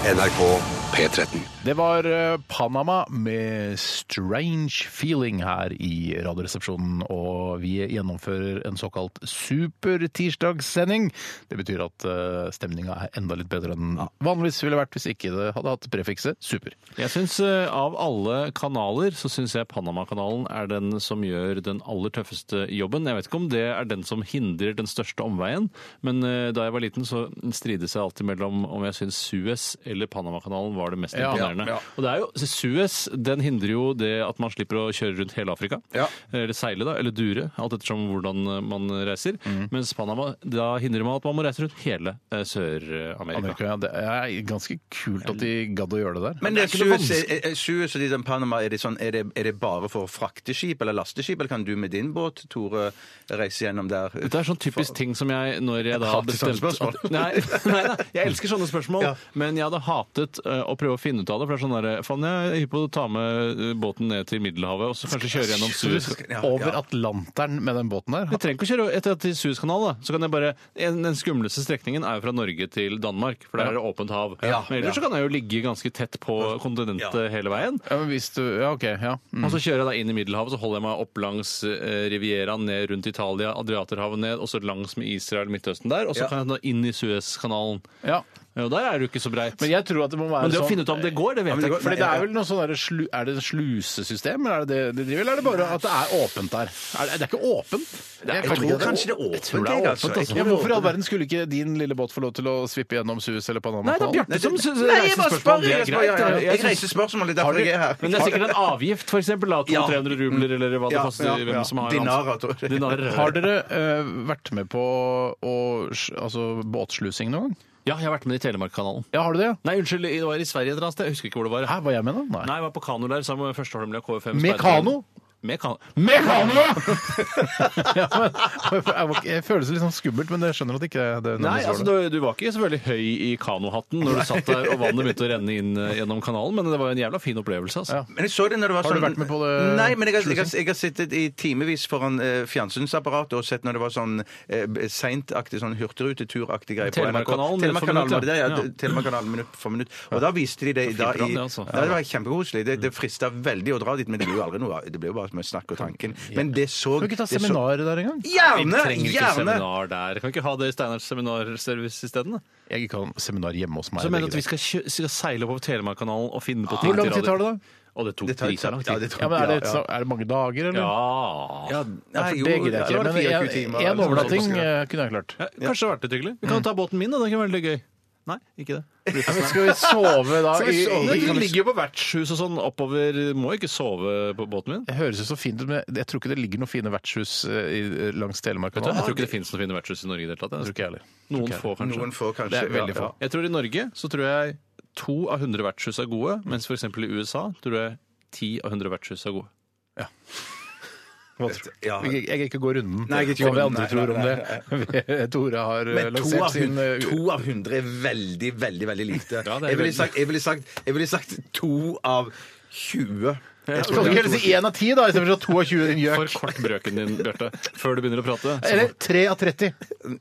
E: NRK P13.
A: Det var eh, Panama med 'Strange Feeling' her i Radioresepsjonen. Og vi gjennomfører en såkalt supertirsdagssending. Det betyr at stemninga er enda litt bedre enn den vanligvis ville vært hvis ikke det hadde hatt prefikset 'super'.
C: Jeg synes, eh, Av alle kanaler så syns jeg Panamakanalen er den som gjør den aller tøffeste jobben. Jeg vet ikke om det er den som hindrer den største omveien, men eh, da jeg var liten, så strides jeg alltid mellom om jeg syns Suez eller Panamakanalen var det mest
A: Ja,
C: imponerende.
A: ja, ja.
C: Og det er jo, Suez den hindrer jo det at man slipper å kjøre rundt hele Afrika.
B: Ja.
C: Eller seile, da, eller dure, alt ettersom hvordan eh, man reiser.
A: Mhm.
C: Mens Panama, da hindrer man at man må reise rundt hele eh, Sør-Amerika.
A: Amerika, ja, det er ganske kult at de gadd å gjøre det der.
B: Men det er Suez, er- er- Suez og de der Panama, er det, sånn, er, det, er det bare for frakteskip eller lasteskip, eller kan du med din båt, Tore, reise gjennom der?
C: Dette er sånn typisk ting som jeg når jeg da
B: hater
C: bestemte
B: sånne spørsmål.
C: at- Nei, nei, nei, jeg elsker sånne spørsmål,
B: Ja.
C: men jeg hadde hatet eh, å prøve å finne ut av det. For det er sånn derre Faen, jeg er hypp på å ta med eh, båten ned til Middelhavet og så kanskje kjøre gjennom Suez.
B: Ja, ja.
A: Over Atlanteren med den båten der.
C: Jeg trenger ikke å kjøre etter til Suezkanalen, da. Så kan jeg bare en, Den skumleste strekningen er jo fra Norge til Danmark, for der er det åpent hav.
B: Ja.
C: Men ellers
B: Ja.
C: så kan jeg jo ligge ganske tett på kontinentet
B: Ja.
C: hele veien.
A: Ja, men hvis du, ja, ok, ja. Mm.
C: Og så kjører jeg da inn i Middelhavet, så holder jeg meg opp langs eh, Rivieraen, ned rundt Italia, Adriaterhavet ned, og så langs med Israel, Midtøsten der, og så
B: Ja.
C: kan jeg nå inn i Suezkanalen.
A: ja.
C: Ja, Og der er det jo ikke så breit.
A: Men jeg tror at det må være
C: Men det
A: sånn
C: å finne ut om det går, det vet
B: men det
C: jeg
B: går-
C: ikke.
A: Fordi det er vel noe sånn der slu, Er det et slusesystem, eller er det det de driver, eller er det bare at det er åpent der? Er det, det er ikke åpent? Jeg kan
B: tror
A: ikke-
B: kanskje det er åpent,
A: tror det er
B: jeg,
A: åpent,
B: altså. Jeg
A: altså.
B: tror
A: Ja,
B: det er
A: hvorfor i all
B: åpent.
A: verden skulle ikke din lille båt få lov til å svippe gjennom Suez eller Panama?
C: Nei, det er Bjarte som s-
B: Nei, jeg
C: reiser
B: bare spør!
C: spørsmål. Det
B: Jeg,
C: er
B: spør,
C: greit.
B: ja, ja.
C: det. Jeg
B: jeg
C: synes-
B: reiser spørsmål, det er derfor jeg er her.
C: Men det er sikkert en avgift, for eksempel. da,
B: Ja.
C: 200-300 rubler, eller hva det
B: Ja,
C: koster.
B: ja,
C: hvem
B: ja.
C: som har
B: Dinarer,
C: ansvar.
B: tror jeg.
C: Dinarer.
A: Har dere eh, vært med på å, sj- altså, båtslusing noen gang?
C: Ja, jeg har vært med i Telemarkkanalen.
A: Ja, har du det? ja?
C: Nei, unnskyld, det var i Sverige et eller annet sted. Jeg husker ikke hvor det var.
A: Hæ, var jeg med da? Nei.
C: Nei, jeg var på kano der sammen med førsteholmlia KFM.
A: Med kano?
C: Med kano.
A: Med kano! ja, men, jeg, var ikke- jeg føles litt sånn skummelt, men jeg skjønner at ikke det ikke
C: Nei, altså, du, du var ikke selvfølgelig høy i kanohatten når du satt der og vannet begynte å renne inn eh, gjennom kanalen, men det var en jævla fin opplevelse. altså.
A: Ja.
B: Men jeg så det når det var
A: Har du
B: sånn...
A: vært med på det,
B: Nei, men jeg har, jeg har, jeg har sittet i timevis foran eh, fjernsynsapparatet og sett når det var sånn eh, seintaktig, sånn hurtigruteturaktig greie på NRK.
C: Telemarkkanalen, minutt for
B: Telemarkkanalen var det der, ja.
C: minutt, ja.
B: Telemarkkanalen minutt for minutt. Og da viste de det da i
C: program, det, altså. Mm.
B: Nei, Det var kjempekoselig. Det, det frista veldig å dra dit, men det ble jo aldri noe av. Det ble jo bare med snakk og tanken. Men det så
A: Kan du ikke ta
B: det så-
A: seminar der engang?
C: Vi
B: Gjerne!
C: trenger ikke
B: Gjerne!
C: seminar der. Kan vi ikke ha det i Steinars seminarservice isteden? da?
A: Jeg kan seminar hjemme hos meg.
C: Så jeg mener
A: begge
C: at vi
A: deler.
C: skal, kjø- skal seile oppover Telemarkkanalen og finne på ting
A: Hvor lang tid tar det, da?
C: Å, det tok
B: Det tar-
C: drita lang
B: ja,
C: tid.
B: det tar-
A: Ja, men er, det,
B: ja,
A: så- er det mange dager, eller?
C: Ja.
B: Ja, nei,
A: for
B: jo,
A: det gidder jeg
B: ja,
A: ikke.
B: da var
A: Men
B: det 24
A: en, en
B: timer, eller noe sånt.
A: overnatting eh, kunne jeg klart.
C: Ja, Kanskje det har vært litt hyggelig. Vi kan jo ta båten min, da. Det kan være litt gøy. Nei, ikke det.
A: Ja, men skal vi sove da?
B: Skal vi
A: i-
B: sove?
A: i-
C: Nei, Vi ligger jo på vertshus og sånn oppover. Må jo ikke sove på båten min.
A: Det høres jo så fint ut, men jeg tror ikke det ligger noen fine vertshus eh, i- langs Telemark.
C: Vet du, jeg tror ikke det finnes noe fine vertshus i Norge i det hele tatt.
A: tror
C: jeg.
A: ikke jeg heller.
C: Noen få, kanskje.
B: Noen få, kanskje.
A: Det er veldig
B: Ja, ja.
A: få.
C: Jeg tror i Norge så tror jeg to av 100 vertshus er gode, mens f.eks. i USA tror jeg ti av 100 vertshus er gode.
A: Hva tror du?
B: Ja.
A: Jeg jeg gidder ikke gå runden
B: Nei, jeg gidder ikke
A: hva vi
B: gå runden.
A: andre
B: Nei,
A: tror om
B: nei,
A: det. Tore har eh,
B: Men to
A: lansert
B: av,
A: sin
B: hun-
A: eh,
B: to av hundre er veldig, veldig veldig
C: Ja,
B: lite.
C: det er
B: jeg, ville
C: veldig.
B: sagt, jeg, ville sagt, jeg ville sagt to av 20. Jeg tror
A: Kan du
B: det
A: ikke
B: er
A: heller
B: to-
A: si én av ti, da, istedenfor 22 din gjøk?
C: For kort brøken din, Bjarte, før du begynner å prate. Så-
A: Eller 3 av 30.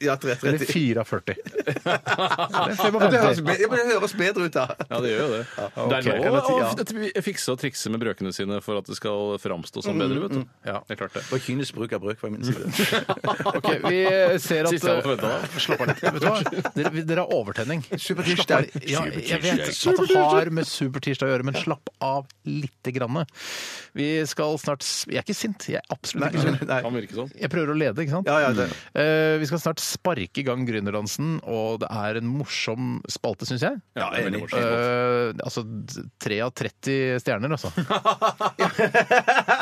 B: Ja, tre- tre-
A: Eller
B: tre-
A: 4 av 40.
B: Ja, det, høres bedre, det høres bedre ut, da.
C: Ja, det gjør jo det. Det er lov å f- fikse og trikse med brøkene sine for at det skal framstå som bedre, vet du.
A: Ja.
C: Det er klart det.
B: Og kynisk bruk av brøk fra min side.
A: Ok, vi ser at
C: Siste jeg hadde forventet da.
A: Slapp av litt. Vet du hva? Dere, vi- dere har overtenning.
B: Supertirsdag.
A: Slapp av. Ja, jeg vet at det har med supertirsdag å gjøre, men slapp av lite grann. Vi skal snart s- Jeg er ikke sint. Jeg er absolutt ikke sint.
B: Nei.
C: Kan virke sånn.
A: Jeg prøver å lede, ikke sant?
B: Ja, ja, det.
A: Eh, vi skal snart sparke i gang gründerdansen, og det er en morsom spalte, syns jeg.
C: Ja, det er veldig
B: enig.
C: morsomt.
A: Eh, altså 3 av 30 stjerner, altså.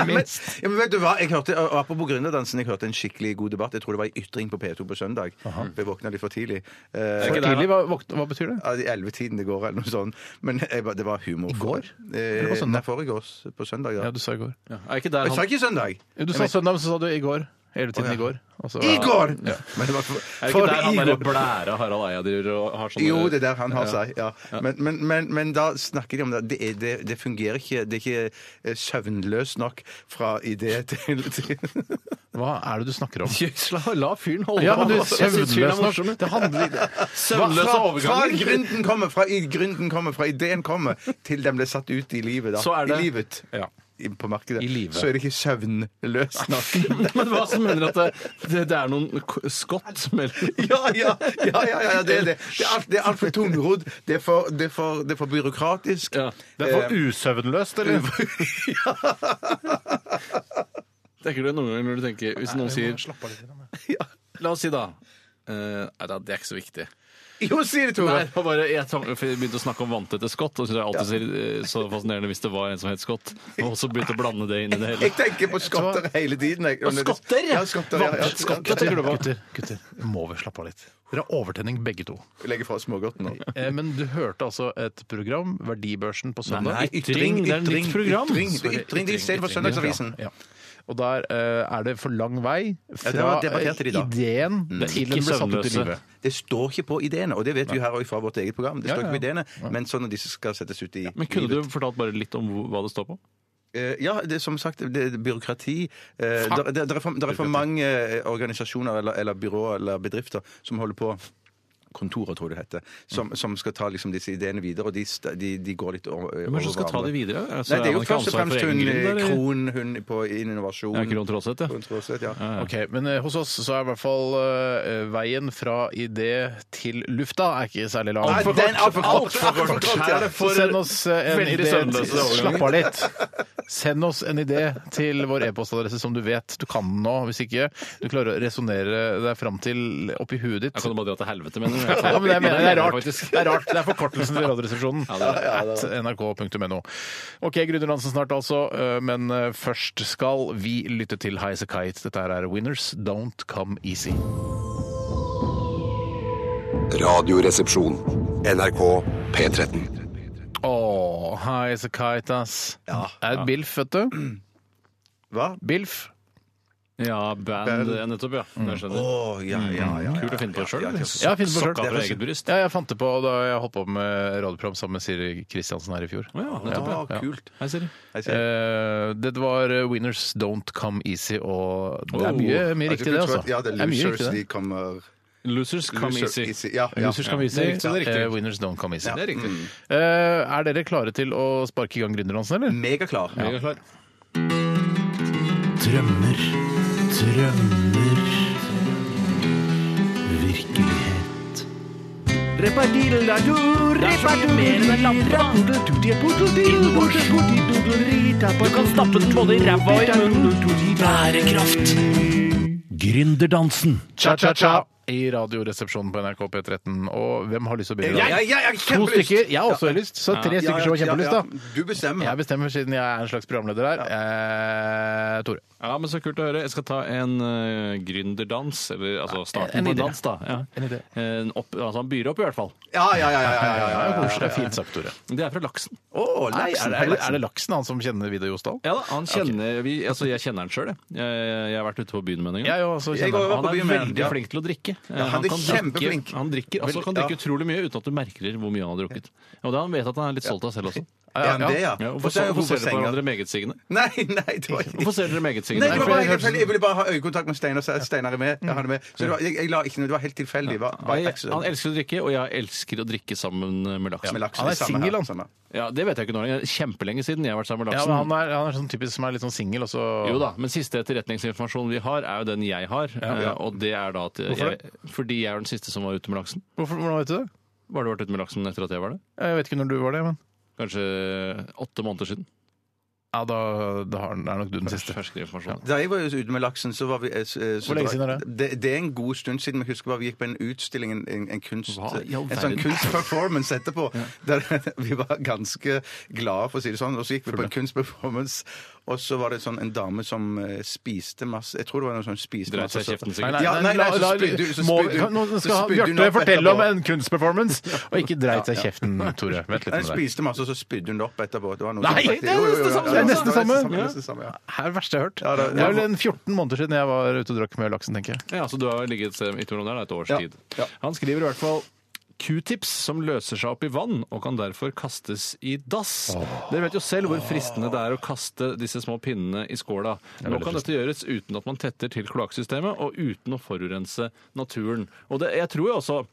B: Men, ja, men vet du hva? Jeg hørte, og apropos gründerdansen, jeg hørte en skikkelig god debatt. Jeg tror det var i Ytring på P2 på søndag. Jeg våkna litt for tidlig. Eh,
A: For
C: ikke der, da?
A: tidlig, hva, hva betyr det?
B: Ja, I ellevetiden i går eller noe sånt. Men jeg, bare- det var humor.
A: I går? Eller på
B: Eh,
A: søndag?
B: nei, forrige års. På søndag, ja.
A: Ja, du sa i går.
C: Ja. Er ikke der
B: Jeg sa
C: han
B: ikke søndag.
A: Jo, Du sa søndag, men så sa du i går. Hele tiden
B: Å, ja.
A: i går. Altså, Og så-
B: I går! Men det var for,
C: er det
B: for
C: ikke der han
B: i
C: derre
B: går.
C: blæra Harald Eia driver og har sånne
B: Jo, det er der han har seg. Ja. Men, men, men, men da snakker de om det. Det, er, det, det fungerer ikke. Det er ikke eh, søvnløst nok fra idé til, til
A: Hva er det du snakker om?
C: La fyren holde
A: Ja, men du,
C: Jeg synes fyren er
A: søvnløs
C: morsom.
A: nok. Det handler
C: Søvnløse
B: Fra, fra
C: overganger.
B: gründen kommer, fra, i- gründen kommer, fra ideen kommer, til den ble satt ut i livet. Da.
C: Så er det-
B: I livet.
C: Ja.
B: I- På markedet.
C: I livet.
B: Så er det ikke søvnløs nok.
C: Men hva som mener at det, det, det er noen k- skott mellom
B: Ja, ja, ja, ja, ja, det er det. Det er alt- Det er altfor tungrodd. Det, er for- det, er for- det er for byråkratisk.
C: ja.
A: Det
B: Eh.
A: er for usøvnløst, eller?
C: Tenker du noen ganger når du tenker Hvis noen sier
A: Slapp av litt. grann, da.
C: La oss si da eh, Nei da, det er ikke så viktig.
B: Jo, si det,
C: Nei,
B: Tore!
C: det var bare, jeg, tan- for jeg begynte å snakke om vanntette skott, og så synes jeg alltid ser, eh, så fascinerende hvis det var en som het Scott. Og så begynte å blande det inn i det hele.
B: Jeg tenker på skotter hele tiden. Jeg.
C: skotter, ja.
B: Ja, skotter, ja, ja.
C: Skotter, tenker du på?
A: Gutter, gutter, må vi slappe av litt? Dere har overtenning begge to.
B: Vi legger fra oss smågodten nå.
A: Eh, Men du hørte altså et program, Verdibørsen, på søndag.
C: Nei, ytring, det er et nytt program.
B: Ytring, det er
C: Sorry,
B: ytring, det er i stedet for
C: ytring, ytring.
B: Søndagsavisen.
A: Ja. Og der eh, er det for lang vei
B: det
A: fra
B: var debattert i
A: eh,
B: dag.
A: ideen til
C: ikke
A: den ble satt ut i
C: søvnløse.
A: livet.
B: Det står ikke på ideene, og det vet vi her også fra vårt eget program. Det
A: Ja,
B: står
A: ja,
B: ikke på ideene, men sånn når disse skal settes ut i
C: Men kunne du fortalt bare litt om hvor- hva det står på?
B: Eh, Ja, det er som sagt det er byråkrati. Eh, Der der- der er for, der er for
C: Byråkrati.
B: mange eh, organisasjoner eller, eller byråer eller bedrifter som holder på Kontorer, tror jeg det heter. Som, som skal ta liksom, disse ideene videre, og de, st- de, de går litt over, over
C: Hvem er det som skal ta
B: hverandre.
C: det videre? Altså,
B: Nei, det
C: har
B: er jo
C: man ikke
B: først og
C: ansvar for
B: fremst
C: egen
B: hun
C: gründer, eller?
B: Kron, hun på innovasjon.
C: Ja, Kron Traaseth, ja.
B: Kron Traaseth, ja.
A: Ok, Men eh, hos oss så er i hvert fall eh, veien fra idé til lufta er ikke særlig lang.
B: Nei, den er altfor kort!
C: Altfor kort. Her er det for-
A: Send oss eh, en
C: Veldig
A: idé
C: søvnløse
A: til-
C: overganger.
A: Slapp av litt. Send oss en idé til vår e-postadresse som du vet du kan den nå. Hvis ikke du klarer å resonnere deg fram til oppi huet ditt.
C: Jeg kan jo bare dra til helvete, mener du?
A: Ja, men jeg mener, det, er rart.
C: faktisk.
A: det er rart. Det er forkortelsen til Radioresepsjonen.
C: Ja, det
A: At nrk.no. Ok, Grunnerlandsen snart altså, eh, men eh, først skal vi lytte til Highasakite. Dette her er Winners Don't Come Easy.
D: Radioresepsjon.
E: NRK P13.
A: Åh, Highasakite, ass. Det er et Bilf, vet du.
B: Hva?
A: Bilf.
C: Ja, band, ja, nettopp, ja. Jeg skjønner.
B: Å, ja, ja, ja, ja.
C: Kult å finne på sjøl.
A: Ja, jeg finner på selv.
C: Sokka fra eget bryst.
A: Ja, jeg fant det på da jeg holdt på med radioprogram sammen med Siri Kristiansen her i fjor.
C: Å, ja, nettopp,
B: Å,
C: ja.
B: kult.
C: Hei, Siri.
B: Jeg ser-
A: Eh, det var eh, Winners Don't Come Easy, og det er
C: Oh.
A: mye, mye
B: Jeg
A: riktig,
B: tror
A: det,
B: du tror
A: altså.
B: at- Ja, det er
A: Det er mye
B: losers
A: riktig, det.
B: de kommer
C: Losers come
B: Loser-
C: easy.
B: Ja, ja.
A: Losers come easy,
C: det er riktig, det er riktig.
A: eh, winners don't come easy.
C: Det er riktig.
A: Eh, er dere klare til å sparke i gang Gründerdansen, eller?
B: Megaklar.
C: Jeg er klar.
F: Drømmer, drømmer Virkelighet Du kan stappe den både i ræva og i munnen Bærekraft Gründerdansen
A: Cha-cha-cha i Radioresepsjonen på NRK P13. Og hvem har lyst til å begynne?
B: Jeg, jeg, jeg, har
A: to
B: kjempelyst.
A: stykker. Jeg har også lyst. Så tre stykker som har kjempelyst, da.
B: Du bestemmer.
A: Jeg bestemmer siden jeg er en slags programleder her. Eh, Tore.
C: Ja, men så kult å høre. Jeg skal ta en eh, gründerdans, eller altså starten
A: En
C: på en
A: idé.
C: dans, da. Ja.
A: En idé.
C: En opp, altså han byr opp, i hvert fall.
B: Ja, ja, ja. ja, ja, ja, ja, ja.
A: Det er fint sagt, Tore.
C: Det er fra Laksen.
B: Å, nei,
A: Er det,
B: er det-
A: er det laksen han som kjenner Vidar Josdal?
C: Ja da, han kjenner, vi, altså Jeg kjenner han sjøl, jeg. jeg. Jeg har vært ute på byen med ham en gang.
A: Jeg også
B: Jeg
A: kjenner
B: går
A: han.
B: over
C: Han
B: på
C: er
B: byen med han,
C: veldig
B: ja.
C: flink til å drikke.
B: Ja, han er
C: kan
B: kjempeflink.
C: Drikke, han drikker, altså,
B: Veldig-
C: kan drikke
B: ja.
C: utrolig mye uten at du merker hvor mye han har drukket. Og da han vet at han er litt stolt av seg selv også.
B: Er han det, ja?
C: Ja,
B: For
C: hvorfor,
B: så er jeg
C: hvorfor ser
B: på
C: dere på
B: senga.
C: hverandre megetsigende?
B: Nei, nei, det var ikke
C: Hvorfor ser dere
B: Nei,
C: megetsigende?
B: det var bare, jeg, jeg ville bare ha øyekontakt med Steinar, så Steinar er med. Jeg, er med. Så det var, jeg, jeg la ikke noe, det var helt tilfeldig. Det var-
C: Han
B: bare accident.
C: han elsker å drikke, og jeg elsker å drikke sammen med
B: Med
C: Laksen.
B: laksen,
A: Han er
B: det samme
A: singel,
B: her,
A: han.
B: samme.
C: Ja, Det vet jeg ikke nå. Det er Kjempelenge siden jeg har vært sammen med
A: Ja,
C: Laksen.
A: men han er, han er sånn typisk som er litt sånn singel, og så
C: Jo da, men siste etterretningsinformasjonen vi har, er jo den jeg har. eh, Og det er da at jeg, Fordi jeg er den siste som var ute med laksen.
A: Hvorfor, Hvordan vet du det?
C: Var du vært ute med laksen etter at jeg var det?
A: Jeg vet ikke når du var det, men
C: Kanskje åtte måneder siden.
A: Ja, da, da har, er nok du den siste.
C: Ferskere informasjon.
B: Da jeg var jo ute med laksen, så var vi eh, så,
A: Hvor lenge siden er
B: det? det? Det er en god stund siden. Men jeg husker bare vi gikk på en utstilling, en, en, en kunst
C: Hva i all
B: En sånn
C: verden?
B: kunstperformance etterpå. Der vi var ganske glade, for å si det sånn. Og så gikk vi på en kunstperformance, og så var det sånn en dame som eh, spiste masse Jeg tror det var noen som spiste
C: Dreit
B: masse
C: seg i kjeften,
A: Nei,
C: sikkert.
A: nei,
B: Ja, nei, nei,
A: la-
B: så
A: la-
B: spydde du- så
A: må-
B: spydde du-
A: Nå
B: så
A: skal
B: spydde hun
A: Bjarte
B: opp
A: fortelle om
B: etterpå.
A: en kunstperformance, og ikke dreit seg i kjeften, Tore. Vent
B: Nei, Hun
A: litt med det.
B: spiste masse, og så spydde hun det opp etterpå. Det var noe
A: Nei,
B: som-
A: det er
B: Jo, jo, jo,
A: nesten
B: ja,
A: samme, det
B: ja,
A: er nesten
B: det var
A: samme.
B: det nesten samme, ja.
A: Her er det verste jeg har hørt.
B: Ja,
A: det,
B: det-
A: er vel en 14 måneder siden jeg var ute og drakk med laksen, tenker jeg.
C: eh, Ja, så du har ligget et sted i Trondheim der, da, et års
B: Ja.
C: tid.
B: Ja.
C: Han skriver i hvert fall Q-tips som løser seg opp i vann og kan derfor kastes i dass. Dere vet jo selv hvor fristende det er å kaste disse små pinnene i skåla. Nå kan dette gjøres uten at man tetter til kloakksystemet og uten å forurense naturen. Og det, jeg tror jo også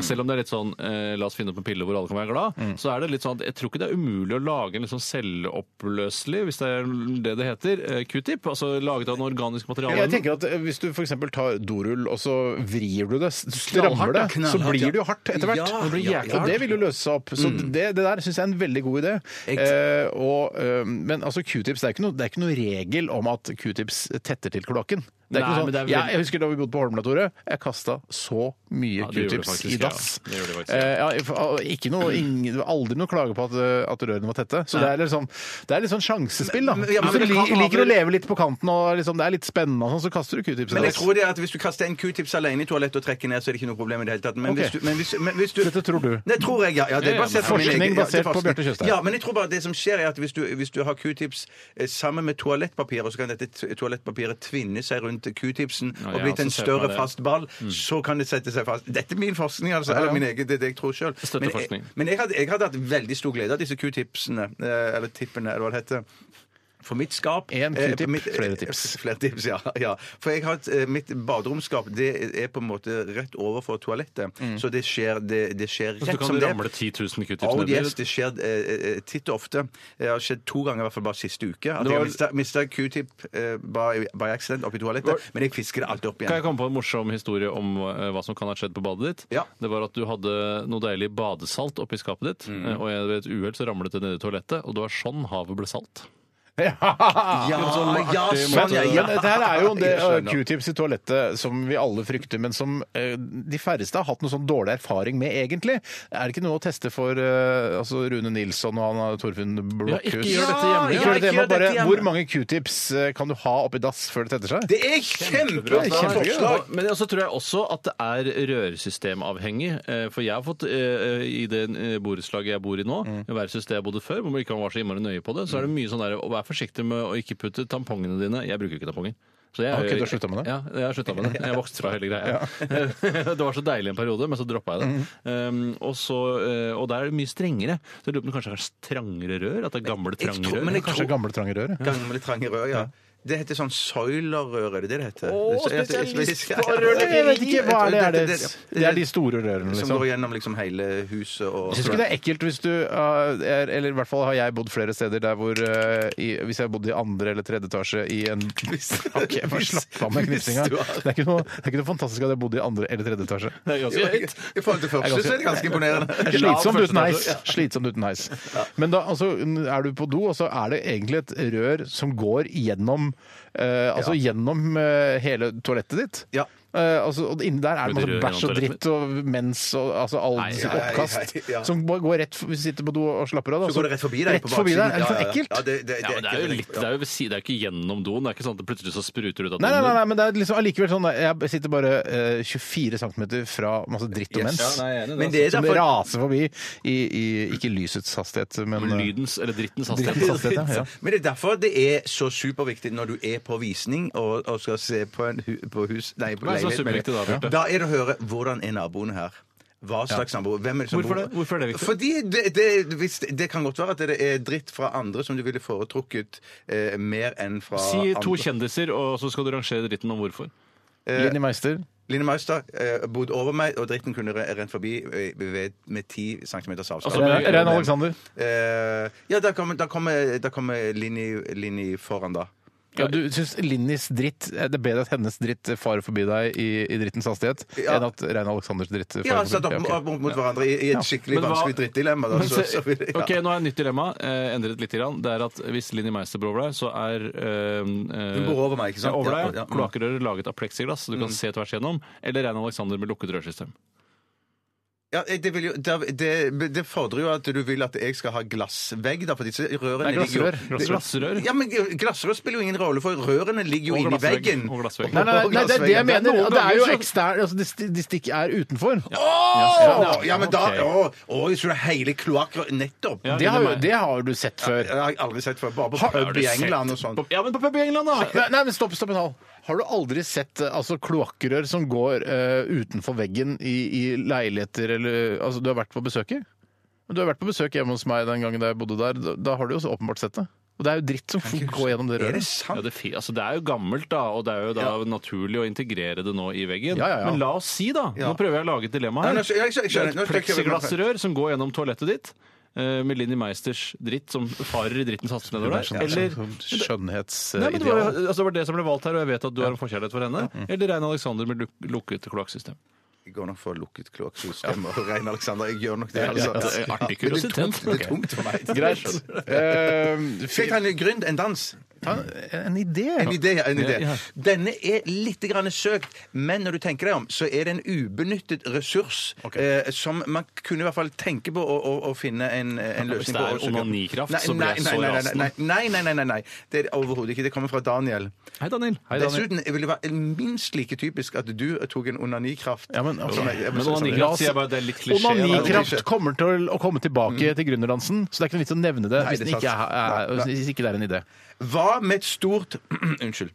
C: selv om det er litt sånn eh, la oss finne opp en pille hvor alle kan være glad, så er det litt sånn at jeg tror ikke det er umulig å lage en liksom selvoppløselig, hvis det er det det heter, eh, q-tip. Altså laget av noe organisk materiale.
A: Jeg tenker at eh, Hvis du f.eks. tar dorull og så vrir du det, s- du strammer det, så
B: knallhardt,
A: blir det jo
B: ja.
A: hardt etter hvert.
B: Ja, Det blir jæklig
A: og det
B: hardt.
A: vil jo løse seg opp. Så
C: Mm.
A: det, det der syns jeg er en veldig god idé. Eh, og, eh, men altså q-tips, det er ikke noe, det er ikke noe regel om at q-tips tetter til kloakken. Det er ikke
C: Nei,
A: noe sånn,
C: men det er
A: jeg,
C: vel-
A: jeg husker da vi bodde på Holmlia, Tore. Jeg kasta så mye
C: Ja, det gjorde
A: q-tips
C: du faktisk,
A: i dass.
C: ja. Det gjorde du faktisk.
A: Eh, ja, for- ikke noe, ingen, aldri noe klage på at, eh, at rørene var tette. Så det er, litt sånn, det er litt sånn sjansespill, da.
B: Men- men- ja, men
A: Hvis du
B: det
A: li-
B: kan ha
A: liker å
B: vel-
A: leve litt på kanten, og liksom, det er litt spennende, og sånn, så kaster du q-tips. i
B: Men jeg
A: dass.
B: tror det er at hvis du kaster en Q-tips alene i toalettet og trekker ned, så er det ikke noe problem i det hele tatt. Men
A: Ok.
B: hvis du, men hvis, men hvis du
A: Dette tror du.
B: Det tror jeg, ja. ja det
C: Ja,
B: er
C: ja,
B: basert
C: men-
B: på min
A: Forskning
B: egen- ja, det er
A: basert på
B: forskning.
A: Bjarte Tjøstheim.
B: Ja, men jeg tror bare det som skjer, er at hvis du, hvis du har Q-tips eh, sammen med toalettpapir, og så kan dette t- toalettpapiret tvinne seg rundt Q-tipsen
C: Ja,
B: og
C: ja,
B: blitt en
C: så ser man
B: større
C: det. Mm.
B: fast ball, så kan det sette seg fast. Dette er min forskning, altså. Eller min egen, det er det jeg tror sjøl. Men,
C: Støtteforskning.
B: jeg, men jeg, hadde, jeg hadde hatt veldig stor glede av disse Q-tipsene, eh, eller tippene, eller hva det heter. For mitt skap
A: En
B: eh,
A: Q-tip,
B: mitt-
A: flere tips.
B: Flere tips, ja. ja. For jeg har et, eh, mitt baderomsskap det er på en måte rett overfor toalettet.
A: Mm.
B: Så det skjer, det, det skjer
C: Så
B: rett
C: kan
B: som
C: du
B: det.
C: ramle 10 000 q-tips
B: Oh,
C: ned i
B: yes, det skjer eh, eh, titt og ofte. Det har skjedd to ganger i hvert fall bare siste uke. At
C: Det var-
B: Jeg mista q-tip eh, by, by accident oppi toalettet, men jeg fisker det alltid opp
C: Kan jeg
B: igjen.
C: komme på en morsom historie om eh, hva som kan ha skjedd på badet ditt?
B: Ja.
C: Det var at du hadde noe deilig badesalt oppi skapet ditt,
B: Mm.
C: eh, og jeg ved et uhell så ramlet det ned i toalettet, og det var sånn havet ble salt.
A: Ja.
B: Ja, ja,
A: Men,
B: sånn, ja,
A: men
B: ja.
A: dette her er jo det
B: Jeg skjønner.
A: eh, Q-tips i toalettet som vi alle frykter, men som eh, de færreste har hatt noe sånn dårlig erfaring med, egentlig. Er det ikke noe å teste for eh, altså Rune Nilsson og han eh, Torfinn Blokhus?
C: ikke gjør dette hjemme.
A: Ikke gjør
B: Ja,
A: dette
B: ikke
A: hjemme.
B: gjør
A: Bare,
B: dette hjemme.
A: hvor mange Q-tips eh, kan du ha oppi dass før det tetter seg?
B: Det er kjempebra
A: Det er kjempegøy.
B: forslag!
C: Og- Men så tror jeg også at det er rørsystemavhengig. eh, For jeg har fått eh, eh, i det eh, borettslaget jeg bor i nå,
A: Mm.
C: værhuset jeg bodde før, hvor man ikke var så innmari nøye på det, så er det mye sånn der å være forsiktig med å ikke putte tampongene dine Jeg bruker ikke tamponger. Så jeg,
A: Ah, ok, du har sluttet med det?
C: Ja, jeg har slutta med det. Jeg vokste fra hele greia. det var så deilig en periode, men så droppa jeg det.
A: Mm.
C: Um, og, så, eh, og der er det mye strengere. Så jeg lurer på om det kanskje er strangere rør? At det er gamle,
B: Jeg
C: trange
B: tror-
C: rør?
B: men jeg
A: Kanskje gamle, trange rør? ja.
B: Gamle, trange rør, ja. Det heter sånn søylerrør, er det det det heter? Så- ja, det-
A: Jeg vet ikke, hva er det? Er
B: det-
A: det,
B: det-
A: det er de store rørene,
B: Som
A: liksom.
B: går gjennom liksom hele huset og
A: Jeg syns ikke det er ekkelt hvis du uh, er, Eller i hvert fall har jeg bodd flere steder der hvor uh, i, Hvis jeg har bodd i andre eller tredje etasje i en Ok, bare slapp av med
B: Hvis- hvis
A: knipsinga.
B: du har-
A: Det er ikke noe, det er ikke noe fantastisk at jeg bodde i andre eller tredje etasje.
C: Det er ganske høyt.
B: I forhold til første så er det ganske imponerende.
A: Det er Slitsomt uten heis. Slitsomt uten heis. Men da altså, er du på do, og så er det egentlig et rør som går gjennom eh, Altså gjennom eh, hele toalettet ditt.
B: Ja.
A: Eh, altså, og inni der er det
C: Men det
A: masse bæsj
C: rører
A: og
C: gjennom
A: dritt og mens og altså, all
C: Nei,
A: sitt
B: nei, nei,
A: oppkast
B: ja.
A: som bare går rett Hvis du sitter på do og slapper av, da,
B: Så går det rett forbi deg på
A: Rett forbi deg.
B: baksiden.
A: Er det
B: Ja,
A: for
B: ja, ja.
A: ekkelt?
B: Ja, det, det, det,
C: Ja, men det er jo
B: ekkelt.
C: litt, det er jo, ved siden- det er jo ikke gjennom doen. Det er ikke sånn at det plutselig så spruter ut av
A: Nei, nei, nei,
C: doen.
A: nei, men det er liksom allikevel sånn Jeg sitter bare eh, 24 cm fra masse dritt og
B: Yes.
A: mens.
C: Ja, nei, jeg er enig i det,
B: Men det er
A: som
B: derfor-
A: raser forbi i, i ikke lysets hastighet,
C: altså.
A: men eh,
C: Lydens eller
A: drittens
C: drittens hastighet. altså.
A: hastighet. Ja, ja.
B: Men det er derfor det er så superviktig når du er på visning og, og skal se på, en hu, på hus Nei, på
C: Hva er det som er
B: leilighet, mener jeg.
C: superviktig da, Bjarte?
B: Da er det å høre hvordan er naboen her. Hva slags naboer? Hvem er det som
C: Hvorfor
B: bor
C: det? Hvorfor er det viktig?
B: Fordi det, det, hvis, det kan godt være at det er dritt fra andre som du ville foretrukket eh, mer enn fra
C: Si to
B: andre.
C: kjendiser, og så skal du rangere dritten om hvorfor.
A: Linni Meister.
B: Line Meister eh, bodde over meg, og dritten kunne re- rent forbi eh, ved, med 10 cm avstand.
C: Altså,
A: Rein
C: men-
A: Rein Alexander.
B: Eh, ja, da kommer, da kommer, da kommer Linni, Linni foran, da.
A: Ja, du syns Linnis dritt er Det er bedre at hennes dritt farer forbi deg i, i drittens hastighet,
B: Ja.
A: enn at Rein Alexanders dritt farer
B: Ja, satt
A: forbi.
B: opp,
A: Ja, ok.
B: opp mot hverandre i, i et skikkelig
C: Men hva-
B: vanskelig drittdilemma. Da,
C: Men
B: så,
C: se-
B: så, vil- ja.
C: Ok, Nå har jeg et nytt dilemma. Eh, endret litt. Grann. Det er at Hvis Linni Meister bor over deg, så er eh, eh,
B: Hun bor over meg, ikke
C: Ja,
B: sant?
C: over deg,
B: Ja, Mm.
C: ja.
B: ja.
C: Kloakkrøret laget av pleksiglass, så du kan se tvers gjennom. Eller Rein Alexander med lukket rørsystem.
B: Ja, det, vil jo, det, det, det fordrer jo at du vil at jeg skal ha glassvegg, da, for disse rørene
A: Nei,
B: ligger jo
A: glassrør. Glassrør.
C: Glassrør?
B: Ja, men glassrør spiller jo ingen rolle, for rørene ligger jo
C: Og
B: inni
C: glassvegg.
B: veggen.
C: Og glassvegg.
A: Nei, nei, nei, nei, det er det jeg
B: Glassveggen.
A: mener.
C: Noen
A: Det er jo
C: ganger
A: ekstern, altså, de, sti- de stikk er utenfor.
B: Å, ja, men da
C: Ok.
B: Å, å, så det er hele kloakkrøret Nettopp!
C: Ja.
A: Det har, jo- det har du sett
B: Det
A: før.
B: har jeg aldri sett før. Bare på
C: Har
B: pub
C: du
B: i
C: sett
B: England og sånn.
C: Ja, men på pub i England, da!
A: Nei, nei, men stopp, stopp en hal. Har du aldri sett eh, altså, kloakkrør som går eh, utenfor veggen i, i leiligheter eh, Altså, du har vært på besøk i? Men du har vært på besøk hjemme hos meg den gangen da jeg bodde der. Da, da har du jo så åpenbart sett det. Og det er jo dritt som går gjennom det
B: Er det
A: røret.
C: Ja,
B: sant?
C: det, fi- altså, det er jo gammelt, da, og det er jo da naturlig å integrere det nå i veggen.
A: Ja, ja, ja.
C: Men la oss si, da Nå prøver jeg å lage et dilemma
B: Nei,
C: her.
B: nå skj- jeg skj-
C: Det
B: jeg
C: er
B: skjønner. Nå
C: et
B: skal jeg prøve-
C: pleksiglassrør som går gjennom toalettet ditt. eh, Med Linni Meisters dritt som farer i dritten satser nedover
A: sånn-
C: der. Eller Nei, men det, var, jo-
A: Skjønnhetsideal.
C: altså, det var det som ble valgt her, og jeg vet at du har en forkjærlighet for henne. Eller Rein Alexander med luk lukket kloakksystem.
B: Jeg går nok for lukket kloakksystem og Rein Alexander. Jeg gjør nok det. altså.
C: Ja, det er artig
B: Men det er tungt-
C: kuriositet.
B: Det er tungt for meg.
A: Greit. Eh,
B: Skal jeg ta en grynd? En dans?
A: ta en idé.
B: En idé, ja, en idé.
C: Ja, ja.
B: Denne er litt grann søkt, men når du tenker deg om, så er det en ubenyttet ressurs
A: Ok.
B: eh, som man kunne i hvert fall tenke på å, å, å finne en, eh, en
C: hvis
B: løsning
C: det
B: på.
C: er
B: og søke.
C: onanikraft,
B: Nei,
C: så blir jeg så
B: nei, nei, nei,
C: rasende.
B: Nei, nei, nei, nei, nei, nei. Det er det overhodet ikke. Det kommer fra Daniel.
C: Hei, Daniel. Hei, Daniel.
B: Dessuten ville det være minst like typisk at du tok en onanikraft.
A: Ja, men, altså,
B: Som jeg- jeg-
C: Men
B: som-
C: onanikraft- sier jeg bare, det er litt klisjé, Mm. da.
A: Onanikraft
B: Klisjé.
A: kommer til å komme tilbake til gründerdansen, så det er ikke noe vits å nevne det,
B: Nei,
A: hvis,
B: det
A: det
B: er
A: ikke
B: sant.
A: er, er,
B: Nei, nei.
A: hvis ikke det er en idé.
B: Hva med et stort Unnskyld.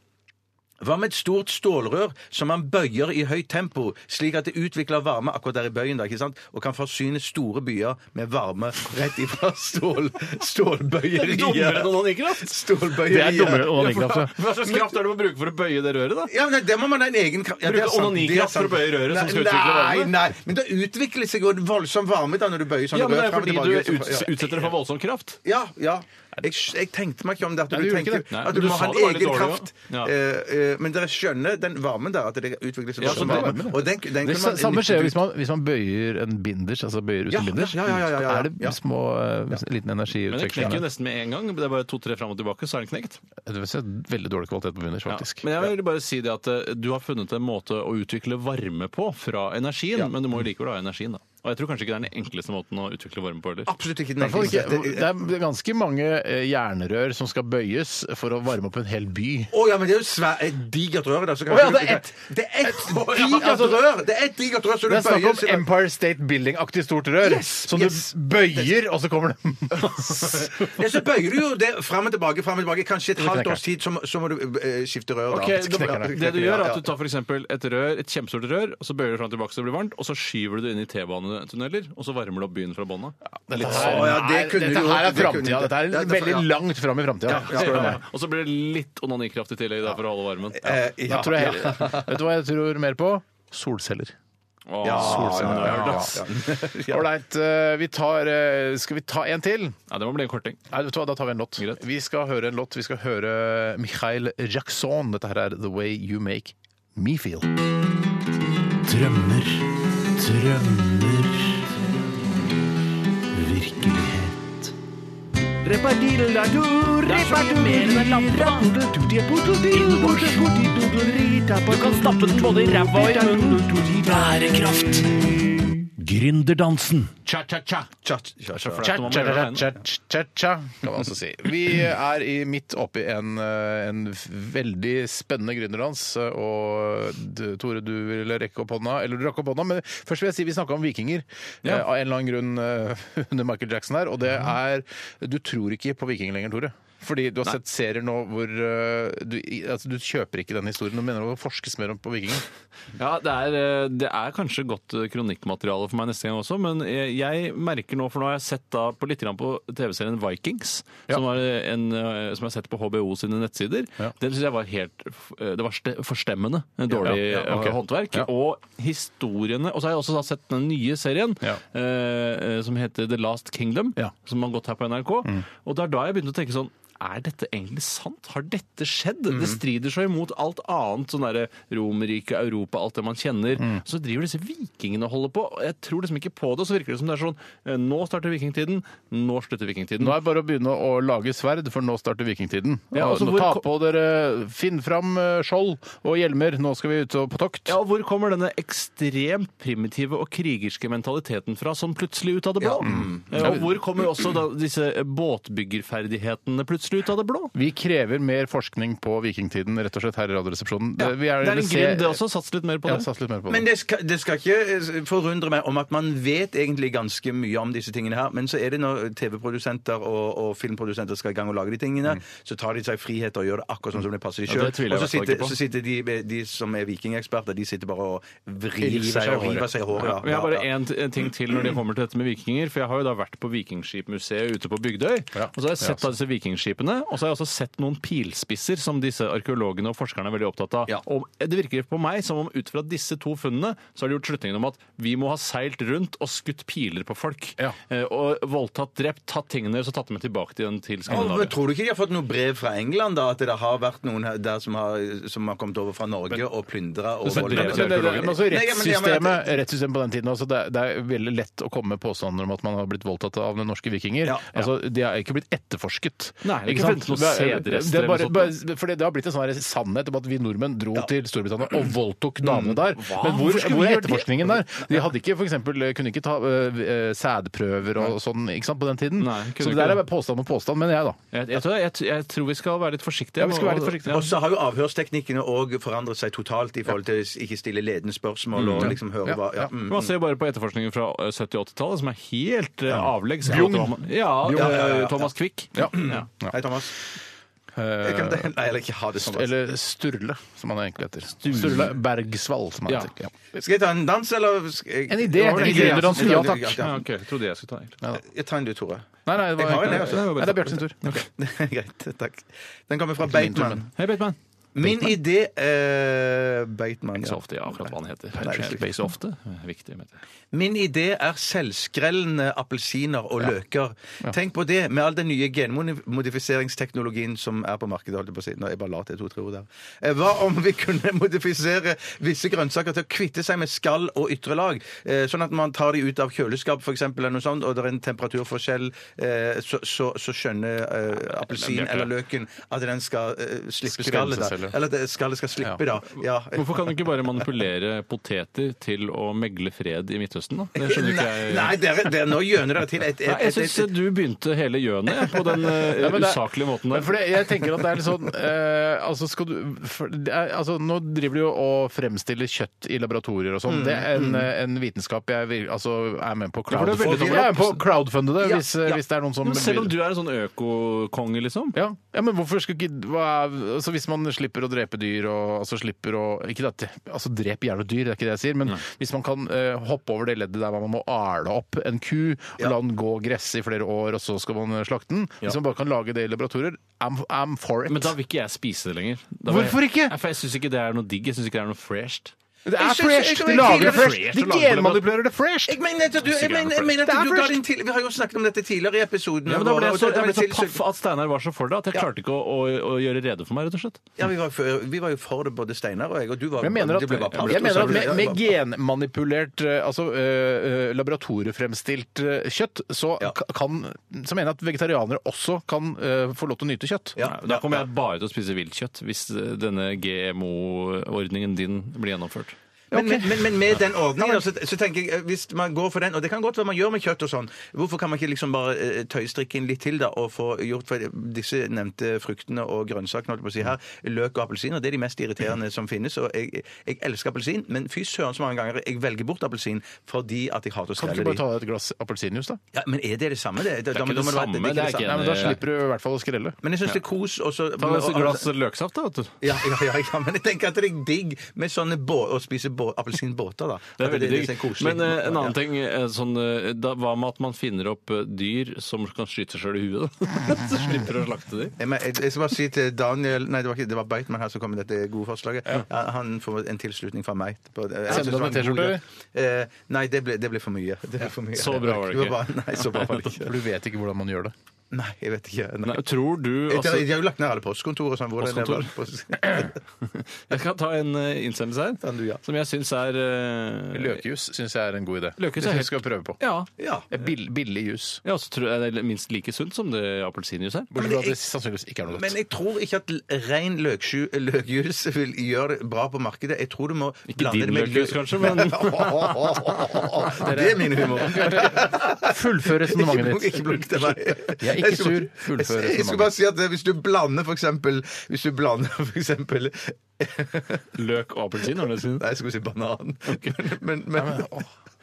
B: Hva med et stort stålrør som man bøyer i høyt tempo, slik at det utvikler varme akkurat der i bøyen, da, ikke sant? og kan forsyne store byer med varme rett ifra stål, stålbøyeriet?
C: Dummere enn onanikraft!
B: Stålbøyeriet.
A: Det er dummere enn onanikraft. ja.
C: Hva slags kraft er det man bruker for å bøye det røret, da?
B: Ja, men Det må man ha en egen kraft ja, det er
C: Bruke
B: sant,
C: onanikraft
B: det er sant.
C: for å bøye røret som skal utvikle varme?
B: Nei, nei, men det utvikler seg jo en voldsom varme da når du bøyer sånne
C: Ja, men det er
B: rør frem og
C: fordi
B: tilbake.
C: du
B: Ja.
C: ut- utsetter det for voldsom kraft.
B: Ja, ja. Jeg, jeg tenkte meg ikke om det. At
A: Nei,
B: du,
A: du gjorde
B: tenker,
A: ikke det.
C: Nei,
B: at du,
C: du
B: må
C: sa
B: ha en
C: det var litt
B: egen
C: dårlig,
B: kraft.
C: ja.
B: Eh, eh, men dere skjønner den varmen der, at det utvikler seg
C: Ja,
B: som
C: så det-
B: varme. Og den, den
A: Det
B: kunne man
A: samme skjer jo hvis
B: nyttet ut.
A: man, hvis man bøyer en binders, altså bøyer uten
B: Ja,
A: binders.
B: ja, ja, ja, ja, ja.
A: Er det
B: Ja.
A: små, eh, liten
C: Men det knekker jo
A: energiutveksling?
C: nesten med en gang. Det er bare to-tre fram og tilbake, så er den knekt.
A: Det er veldig dårlig kvalitet på binders,
C: Ja.
A: faktisk.
C: Men jeg vil bare si det at eh, du har funnet en måte å utvikle varme på fra energien, men du må jo likevel ha energien, da. Og jeg tror kanskje ikke det er den enkleste måten å utvikle varme på heller.
B: Absolutt ikke
A: I hvert
B: den
A: fall
B: enkleste.
A: ikke, det
B: Det-
A: er ganske mange eh, jernrør som skal bøyes for å varme opp en hel by.
B: Å ja, men det er jo svært, et digert rør. Da, så kan
A: Å ja,
B: du-
A: det er ett.
B: Det er ett digert rør! Det er ett digert rør, så du
A: Det er snakk
B: bøyer
A: om Empire State Building-aktig stort rør.
B: Yes,
A: som
B: yes.
A: du bøyer, og så kommer det
B: Ja, så bøyer du jo det fram og tilbake, fram og tilbake. Kanskje et
A: Så
B: halvt
A: knekker
B: års tid, så må, så må du eh, skifte rør.
C: Ok,
B: da.
C: det,
A: knekker
C: det du
B: Ja,
C: gjør er
B: ja.
C: at du tar for eksempel et rør, et kjempestort rør, og så bøyer du fram og tilbake så det blir varmt, og så skyver du det inn i T-banetunneler, og så varmer du opp byen fra bånda.
A: Dette
B: Å, sånn, ja, det kunne
A: dette
B: du
A: her er
B: gjort. Det kunne
A: framtida.
B: du.
A: Dette
B: Ja,
A: er
B: det-
A: veldig
B: ja.
A: langt fram i framtida.
B: ja,
A: Spør du
C: Ja,
A: meg.
C: og så blir det litt onanikraft i tillegg da, for å holde varmen.
B: Eh, ja,
A: Da tror jeg-
B: ja.
A: Vet du hva jeg tror mer på? Solceller.
C: Å,
B: Ja,
C: solsiden
B: ja,
C: er
B: ja,
C: hørt,
B: ja,
C: ass.
B: ja.
A: Ålreit, eh, vi tar, eh, skal vi ta en til?
C: Ja, det må bli en korting.
A: Nei, vet du hva, Da tar vi en låt.
C: Greit.
A: Vi skal høre en låt. Vi skal høre Michael Jackson. Dette her er The Way You Make Me Feel.
F: Drømmer, drømmer Virkelighet Du kan stappe den både i ræva og i munnen Bærekraft Gründerdansen
A: Cha-cha-cha.
C: Så flaut når man begynner å regne.
A: Cha-cha-cha, kan man også si. Vi er i midt oppi en, eh, en f- veldig spennende gründerdans. eh, Og du, Tore, du ville rekke opp hånda. Eller du rakk opp hånda, men først vil jeg si vi snakka om vikinger.
C: Ja.
A: eh, Av en eller annen grunn eh, under Michael Jackson her. Og det er Du tror ikke på vikinger lenger, Tore. Fordi du har sett serier nå hvor eh, du, i- altså, du kjøper ikke den historien. Du mener det må forskes mer om på vikinger.
C: Ja, det er, eh, det er kanskje godt eh, kronikkmateriale for meg neste gang også, men eh, jeg merker nå, for nå har jeg sett da på litt grann på TV-serien Vikings,
A: Ja.
C: som, var eh, en, eh, som jeg har sett på HBO sine nettsider.
A: Ja.
C: Det synes jeg var helt f- eh, Det var ste- forstemmende. En dårlig
A: Ja, ja, ok.
C: eh, håndverk.
A: Ja.
C: Og historiene Og så har jeg også da sett den nye serien
A: Ja.
C: eh, eh, som heter The Last Kingdom,
A: Ja.
C: som har gått her på NRK.
A: Mm.
C: Og det er da jeg begynte å tenke sånn er dette egentlig sant? Har dette skjedd?
A: Mm.
C: Det strider så imot alt annet. sånn derre Romerriket, Europa, alt det man kjenner.
A: Mm.
C: Så driver disse vikingene og holder på. og Jeg tror liksom ikke på det. Og så virker det som det er sånn eh, Nå starter vikingtiden, nå slutter vikingtiden.
A: Nå er det bare å begynne å lage sverd, for nå starter vikingtiden.
C: Ja, altså,
A: Nå
C: hvor-
A: ta på dere, finn fram eh, skjold og hjelmer, nå skal vi ut og på tokt.
C: Ja, og Hvor kommer denne ekstremt primitive og krigerske mentaliteten fra,
A: Mm.
C: Mm. sånn plutselig ut av det blå? Eh, Og hvor kommer også da disse båtbyggerferdighetene plutselig ut av det blå.
A: Vi krever mer forskning på vikingtiden, rett og slett, her i Radioresepsjonen.
C: Ja,
A: Eh, vi
C: det er en
A: se-
C: grunn, det også. Sats litt mer på
A: Ja,
C: det.
A: sats litt mer på
B: Men
A: det.
B: det skal, det skal ikke eh, forundre meg om at man vet egentlig ganske mye om disse tingene her, men så er det når TV-produsenter og, og filmprodusenter skal i gang og lage de tingene, så tar de seg frihet og gjør det akkurat sånn som det passer
C: Mm.
B: de
C: Ja,
B: sjøl.
C: det tviler jeg i
B: og så
C: hvert fall
B: sitter,
C: ikke på.
B: så sitter de, de som er vikingeksperter, de sitter bare og vrir
A: River seg
B: seg
A: i
B: og
A: håret.
B: river seg i håret.
C: Ja,
B: ja.
C: vi har bare
B: Ja, ja.
C: én t- ting til når det kommer til dette med vikinger. For jeg har jo da vært på Vikingskipmuseet ute på Bygdøy.
A: Ja.
C: Og så har jeg sett
A: Ja.
C: da disse vikingskipene. Og så har jeg også sett noen pilspisser som disse arkeologene og forskerne er veldig opptatt av.
B: Ja.
C: Og det virker på meg som om ut fra disse to funnene så har de gjort slutningen om at vi må ha seilt rundt og skutt piler på folk.
A: Ja.
C: Eh, Og voldtatt, drept, tatt tingene deres og tatt dem med tilbake til, til
B: Ja, men
C: Skandinavia.
B: tror du ikke de har fått noe brev fra England, da? At det har vært noen her der som har, som har kommet over fra Norge og plyndra og
C: Men-
B: volda-
C: men-
A: Men det, det, men altså,
B: Nei, ja, men- ja, men-
A: rettssystemet, rettssystemet på den tiden altså, det, er- det er veldig lett å komme med påstander om at man har blitt voldtatt av de norske vikinger.
B: Ja.
A: Altså, De har ikke blitt etterforsket.
C: Nei, det er ikke
A: sant?
C: funnet noen
A: Det er-
C: sædrester
A: det er bare,
C: eller noe
A: bare, for det, det har blitt en sånn her sannhet om at vi nordmenn dro til Storbritannia og voldtok damene der. Men hvor,
C: Mm. Hvorfor skulle
A: hvor
C: vi
A: er
C: gjøre det?
A: etterforskningen der? De hadde ikke, for eksempel, kunne ikke ta øh, øh, sædprøver og sånn ikke sant, på den tiden.
C: Nei, kunne
A: Så det
C: ikke
A: der
C: det.
A: er påstand om påstand, mener jeg, da.
C: Jeg, jeg, tror, jeg, jeg tror vi skal være litt forsiktige.
A: Ja, vi skal være litt forsiktige.
C: Ja.
B: Og så har jo avhørsteknikkene òg forandret seg totalt i forhold til å ikke stille ledende spørsmål og liksom høre
A: Ja,
B: hva
A: ja.
B: ja, mm.
C: Man ser bare på etterforskningen fra eh, 70- og 80-tallet, som er helt eh, avleggs.
A: Bjugn.
C: Ja,
B: ja, ja, ja,
C: eh,
B: ja.
C: Thomas Quick.
A: Ja. Mm. Eh,
C: Ja.
B: Hei, Thomas. Jeg kan, nei, eller ikke ha det sånn.
A: Øh, Eller Sturle, som han egentlig heter. Sturle, Bergsvall, som han
C: Ja.
A: heter. Ja.
B: Skal jeg ta en dans, eller skal jeg...
A: En idé,
B: Ja, vel,
A: en
B: en idé,
A: idé, dansen, ja, takk.
C: Ja, ok. Jeg trodde jeg skulle ta den. egentlig.
B: Jeg tar en du, Tore.
A: Nei, nei, det
B: Jeg har
A: var
B: en, jeg, altså.
A: Nei, det er Bjarte sin tur.
B: Greit, takk. Den kommer fra
A: min tur,
B: Bateman.
C: Hei, Bateman.
B: Min idé eh, Bateman,
C: Så
B: ja.
C: ofte, ja, akkurat hva han heter.
B: Nei, det er
C: Ikke så ofte. Viktig, vet jeg.
B: Min idé er selvskrellende appelsiner og løker. Tenk på det, med all den nye genmodifiseringsteknologien som er på markedet. holdt jeg på å si. Nå, jeg bare la til to-tre ord der. Eh, Hva om vi kunne modifisere visse grønnsaker til å kvitte seg med skall og ytre lag? Eh, Sånn at man tar de ut av kjøleskap, f.eks., eller noe sånt, og det er en temperaturforskjell, eh, så, så, så skjønner eh, appelsinen eller løken at den skal eh, slippe
A: Skremme
B: skallet.
A: seg
B: da.
A: selv, ja.
B: Eller at skallet skal slippe, da. Ja.
C: Hvorfor kan du ikke bare manipulere poteter til å megle fred i Midtøsten, da? Det skjønner ikke
B: Nei,
C: jeg.
B: nei dere, dere, nå gjøner dere til et, et,
C: Nei, jeg
B: et, et,
C: syns du begynte hele gjønet på den eh,
A: Ja, men det er-
C: usaklige måten
A: Men
C: der.
A: for det, jeg tenker at det er litt sånn eh, altså skal du, for, det er, altså Nå driver du jo og fremstiller kjøtt i laboratorier og sånn. Det er en, eh, en vitenskap jeg vil, altså, er med på å
C: for det
A: crowdfunde. Jeg er
C: er veldig sånn-
A: med på å crowdfunde det,
B: Ja,
A: hvis, eh,
B: ja.
A: hvis det er noen som
C: Men selv om
A: vil-
C: du er en sånn økokonge, liksom.
A: ja. ja, men hvorfor skal ikke hva er, altså Hvis man slipper å drepe dyr og altså slipper å Ikke at altså drep gjerne dyr, det er ikke det jeg sier, men hvis man kan eh, hoppe over det leddet der man må arle opp en ku og la den gå gresse i flere år, og så skal man eh, slakte den Hvis man bare kan lage det i laboratorier, I'm, I'm for it.
C: Men da vil ikke jeg spise det lenger. Da var jeg-
A: Hvorfor ikke?
C: Nei, For jeg syns ikke det er noe digg. Jeg syns ikke det er noe fresht.
A: det
B: Jeg
A: er
B: synes- jeg
A: fresh!
B: synes
A: De
B: det er
A: lager det
C: fresh.
A: fresh!
C: De
A: De genmanipulerer det fresh!
B: Jeg mener at du, jeg mener, jeg mener at
A: Det er
B: du
A: fresh.
B: ga din til, Vi har jo snakket om dette tidligere i episoden.
C: Ja, men da ble
B: vår,
C: jeg
B: og
C: så,
B: da- da
C: jeg ble så
B: til-
C: paff at Steinar var så for det, at jeg klarte ikke å, å, å gjøre rede for meg, rett og slett.
B: Ja, vi var, for, vi var jo for det, både Steinar og jeg, og du var
A: Jeg mener at,
B: det ble bare paff.
A: jeg mener at med,
B: Ja,
A: med
B: bare-
A: genmanipulert, eh, altså eh, eh, laboratoriefremstilt eh, kjøtt, så,
B: Ja.
A: ka- kan, så mener jeg at vegetarianere også kan eh, få lov til å nyte kjøtt.
B: Ja,
C: Nei, Da kommer jeg bare til å spise viltkjøtt hvis eh, denne GMO-ordningen din blir gjennomført.
B: Men, men, men, men med den ordningen så, så tenker jeg, eh, hvis man går for den, og det kan godt være man gjør med kjøtt og sånn, hvorfor kan man ikke liksom bare eh, tøystrikke inn litt til da, og få gjort for disse nevnte fruktene og grønnsakene, holdt jeg på å si her, løk og appelsiner, det er de mest irriterende som finnes, og jeg, jeg elsker appelsin, men fy søren så mange ganger jeg velger bort appelsin fordi at jeg hater å
A: Kan du
B: skrelle
A: ikke
B: de.
A: bare ta deg et glass appelsinjuice, da?
B: Ja, men er det det samme? Det, det,
C: ikke det samme, det er ikke
A: Nei,
C: Nei,
A: men Da
C: det-
A: slipper du i hvert fall å skrelle.
B: Men jeg syns det er kos. Og så,
C: Ta et
B: og-
C: glass løksaft, da. vet du.
B: ja, ja, ja, ja, men jeg tenker at det er digg med sånne bå å spise bå appelsinbåter, da.
C: Det er
B: At
C: veldig
B: som er liksom
C: digg.
B: koselig.
C: Men eh, en annen
B: Ja.
C: ting eh, sånn, eh, da, Hva med at man finner opp eh, dyr som kan skyte seg sjøl i huet? da? Så slipper du å slakte dem.
B: Jeg, men jeg, jeg skal bare si til Daniel Nei, det var ikke det var Beitmann her som kom med dette gode forslaget. Ja, han får en tilslutning fra meg. På, jeg synes
A: du
B: det var
A: han en
B: god
A: T-skjorte,
B: idé. Eh, nei, det ble, det ble for mye. Det ble for mye.
C: Så bra var det ikke.
B: bare- Nei, så bra var det
A: For
B: ikke.
A: du vet ikke hvordan man gjør det.
B: Nei, jeg vet ikke. Nei.
C: Nei, tror du altså,
B: de har jo lagt ned alle postkontor og sånn. Hvor det- det var-
C: Jeg skal ta en eh, innsendelse
B: Den du, ja.
C: her som jeg syns er eh,
A: Løkjus syns jeg er en god idé.
C: Løkjus er
A: det syns
C: helt-
A: jeg skal prøve på.
C: Ja.
B: Ja.
A: Eh, Bill, billig jus.
C: Jeg også tror det er minst like sunt som det appelsinjuice er.
A: Bortsett
B: Men
A: fra at
B: jeg-
A: det sannsynligvis ikke er noe
B: Men
A: godt.
B: jeg tror ikke at ren løksju, løkjus vil gjøre det bra på markedet. Jeg tror du må
C: Ikke din løkjus, kanskje, men
B: Det er min humor.
A: Fullfør resonnementet
B: Ikke blunk til meg.
A: Jeg ikke sur.
B: skulle-
A: Fullfør
B: Jeg, jeg skulle bare si at eh, hvis du blander for eksempel Hvis du blander for eksempel
C: Løk og appelsin? var det det du sa?
B: Nei, jeg skulle si banan. Men, men,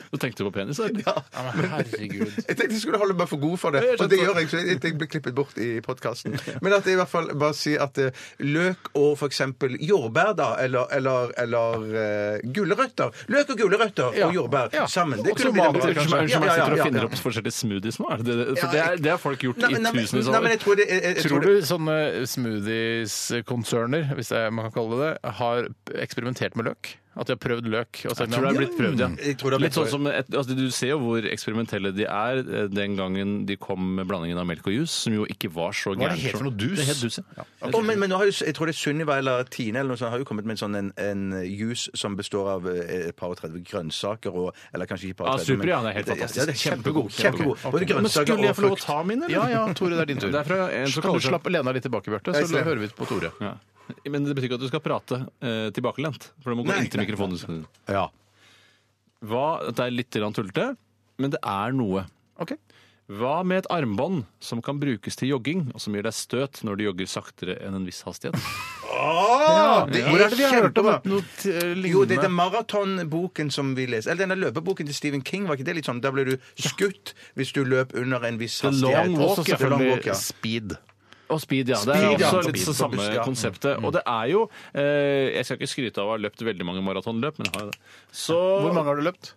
C: Du tenkte på penis, eller?
A: Ja, men herregud.
B: jeg tenkte jeg skulle holde meg for god for det,
C: Ja, jeg skjønner
B: og det
C: det.
B: gjør jeg. Så jeg, jeg blir klippet bort i podkasten. Men at jeg i hvert fall bare sier at eh, løk og for eksempel jordbær, da, eller, eller, eller eh, gulrøtter Løk og gulrøtter
A: Ja.
B: og jordbær
A: Ja.
B: sammen.
A: Og
B: kunne
A: tomater,
B: blitt
C: Unnskyld
B: en bra-
C: meg, unnskyld meg,
B: Ja, ja,
C: jeg sitter og
B: ja,
C: finner
B: ja.
C: opp forskjellige smoothies nå. Er det det? For
B: Ja,
C: det
B: jeg-
C: er, det har folk gjort
B: Nei,
C: i
B: men- nei, men-
C: tusenvis
B: nei,
C: av
B: men jeg
C: år.
B: tror det- jeg- jeg- jeg
A: Tror
B: tror det-
A: du sånne smoothies-konserner, hvis det er, man kan kalle det det, har eksperimentert med løk? At de har prøvd løk? Og sagt,
C: Jeg tror det er blitt prøvd, ja.
B: Jeg tror det er
C: Litt
B: blitt
C: sånn som et, altså du ser jo hvor eksperimentelle de er eh, den gangen de kom med blandingen av melk og juice, som jo ikke var så gærent.
A: Hva er det helt for noe dus?
C: Det er helt dus, ja.
B: Å, men, men nå har jo, jeg tror det er Sunniva eller Tine eller noe sånt, har jo kommet med en sånn en, en juice som består av eh, et par og 30 grønnsaker og Eller kanskje ikke par
C: Ah,
B: og 30,
C: super, ja, det er helt fantastisk.
B: Ja, det er kjempegod. kjempegod.
C: Ok, ok.
B: Både
C: Men
B: grønnsaker
C: skulle jeg
B: og
C: få lov å
B: frukt.
C: ta min, eller?
A: Ja ja, Tore, det er din tur.
C: Det er fra en som
A: kan
C: kaller
A: du
C: seg-
A: slappe Lena litt tilbake, Bjarte,
B: Jeg
A: så
B: ser.
A: hører vi på Tore.
C: Ja. Men det betyr ikke at du skal prate eh, tilbakelent, for du må gå
B: Nei,
C: inntil
B: nei,
C: mikrofonen.
A: Ja.
C: Hva, det er litt grann tullete, men det er noe.
A: Ok.
C: Hva med et armbånd som kan brukes til jogging, og som gir deg støt når du jogger saktere enn en viss hastighet?
B: Ah, det
A: Hvor er det vi har hørt om
B: kjempebra.
A: noe t- eh, lignende?
B: Jo, det er den maratonboken som vi leser. Eller denne løpeboken til Stephen King, var ikke det litt sånn? Da ble du skutt hvis du løp under en viss
C: The Long
B: hastighet.
C: Walk,
B: Også
C: ja.
B: The Long Walk, ja.
A: Speed.
C: Og speed, ja. Det er
B: Speed, ja.
C: også litt
B: Speed,
C: det samme
B: faktisk, ja.
C: konseptet. Og det er jo eh, Jeg skal ikke skryte av å ha løpt veldig mange maratonløp, men jeg har jo det. Så
A: Hvor mange har du løpt?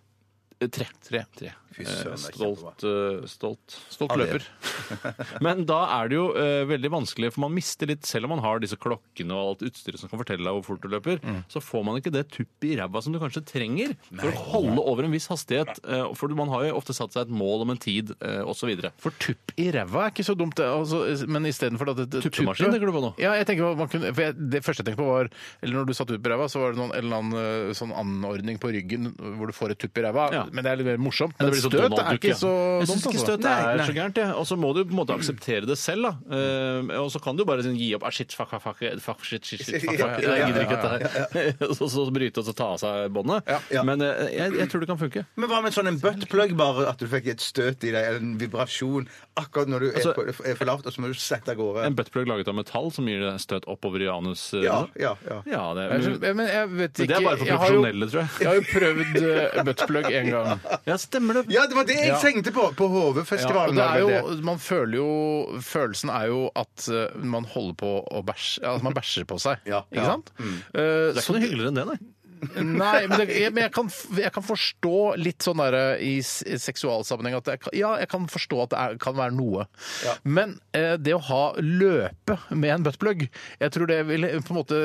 C: Eh, Tre.
A: Tre.
B: Fy
C: Eh,
B: søren, det er kjempebra.
C: Stolt, eh, stolt.
A: Stolt
B: det er-
A: løper.
C: Men da er det jo eh, veldig vanskelig, for man mister litt Selv om man har disse klokkene og alt utstyret som kan fortelle deg hvor fort du løper,
B: Mm.
C: så får man ikke det tuppet i ræva som du kanskje trenger for å holde over en viss hastighet. eh, for man har jo ofte satt seg et mål om en tid, eh, og så videre.
A: For tupp i ræva er ikke så dumt, det, altså, men istedenfor at det-
C: Tuppemaskin
A: tuppet-
C: tenker du på nå?
A: Ja, jeg tenker på- man kunne, for jeg, Det første jeg tenkte på, var Eller når du satt ut på ræva, så var det noen, en eller annen eh, sånn anordning på ryggen hvor du får et tupp i ræva.
C: Ja.
A: Men det er litt mer morsomt. Men
C: Men det blir sånn
A: støt
C: Donald
A: er
C: Duck, ja.
A: ikke så
C: Jeg
A: dumt.
C: synes ikke
A: altså.
C: støt er så gærent, jeg. Og så må du på en måte akseptere det selv, da. Eh, og så kan du bare sånn, gi opp ah, shit, fuck, fuck, fuck, fuck, shit, shit, shit, fuck, fuck. Jeg gidder ikke dette her. Og så- så bryte og så ta av seg båndet.
B: ja.
C: Men eh, jeg, jeg tror det kan funke.
B: Men hva med sånn en buttplug, bare at du fikk et støt i deg, eller en vibrasjon, akkurat når du er,
C: Altså-
B: på, er for lavt, og så må du sette av gårde?
C: En buttplug laget av metall som gir deg støt oppover i anus. eh,
B: Ja,
C: da.
B: ja, ja.
C: ja det,
A: Jeg
C: men,
A: skjønner- ja, Men jeg vet ikke
C: men det er bare for
A: jeg har jo-
C: profesjonelle, tror jeg.
A: Jeg har jo prøvd eh, buttplug en gang.
C: Ja, stemmer det.
B: Ja, det var det jeg
A: Ja.
B: tenkte på på
A: Ja, og
B: HV-festivalen.
A: det er jo, man føler jo Følelsen er jo at eh, man holder på å bæsje altså Man bæsjer på seg,
B: Ja.
A: ikke
B: Ja.
A: sant? Eh,
C: Mm. Det er ikke noe hyggeligere enn det, nei.
A: Nei, men, det, jeg, men jeg, kan, f- jeg kan forstå litt sånn der eh, i, s- i seksualsammenheng at jeg, kan- Ja, jeg kan forstå at det er, kan være noe. Men eh, det å ha løpe med en buttplug, jeg tror det vil eh, på en måte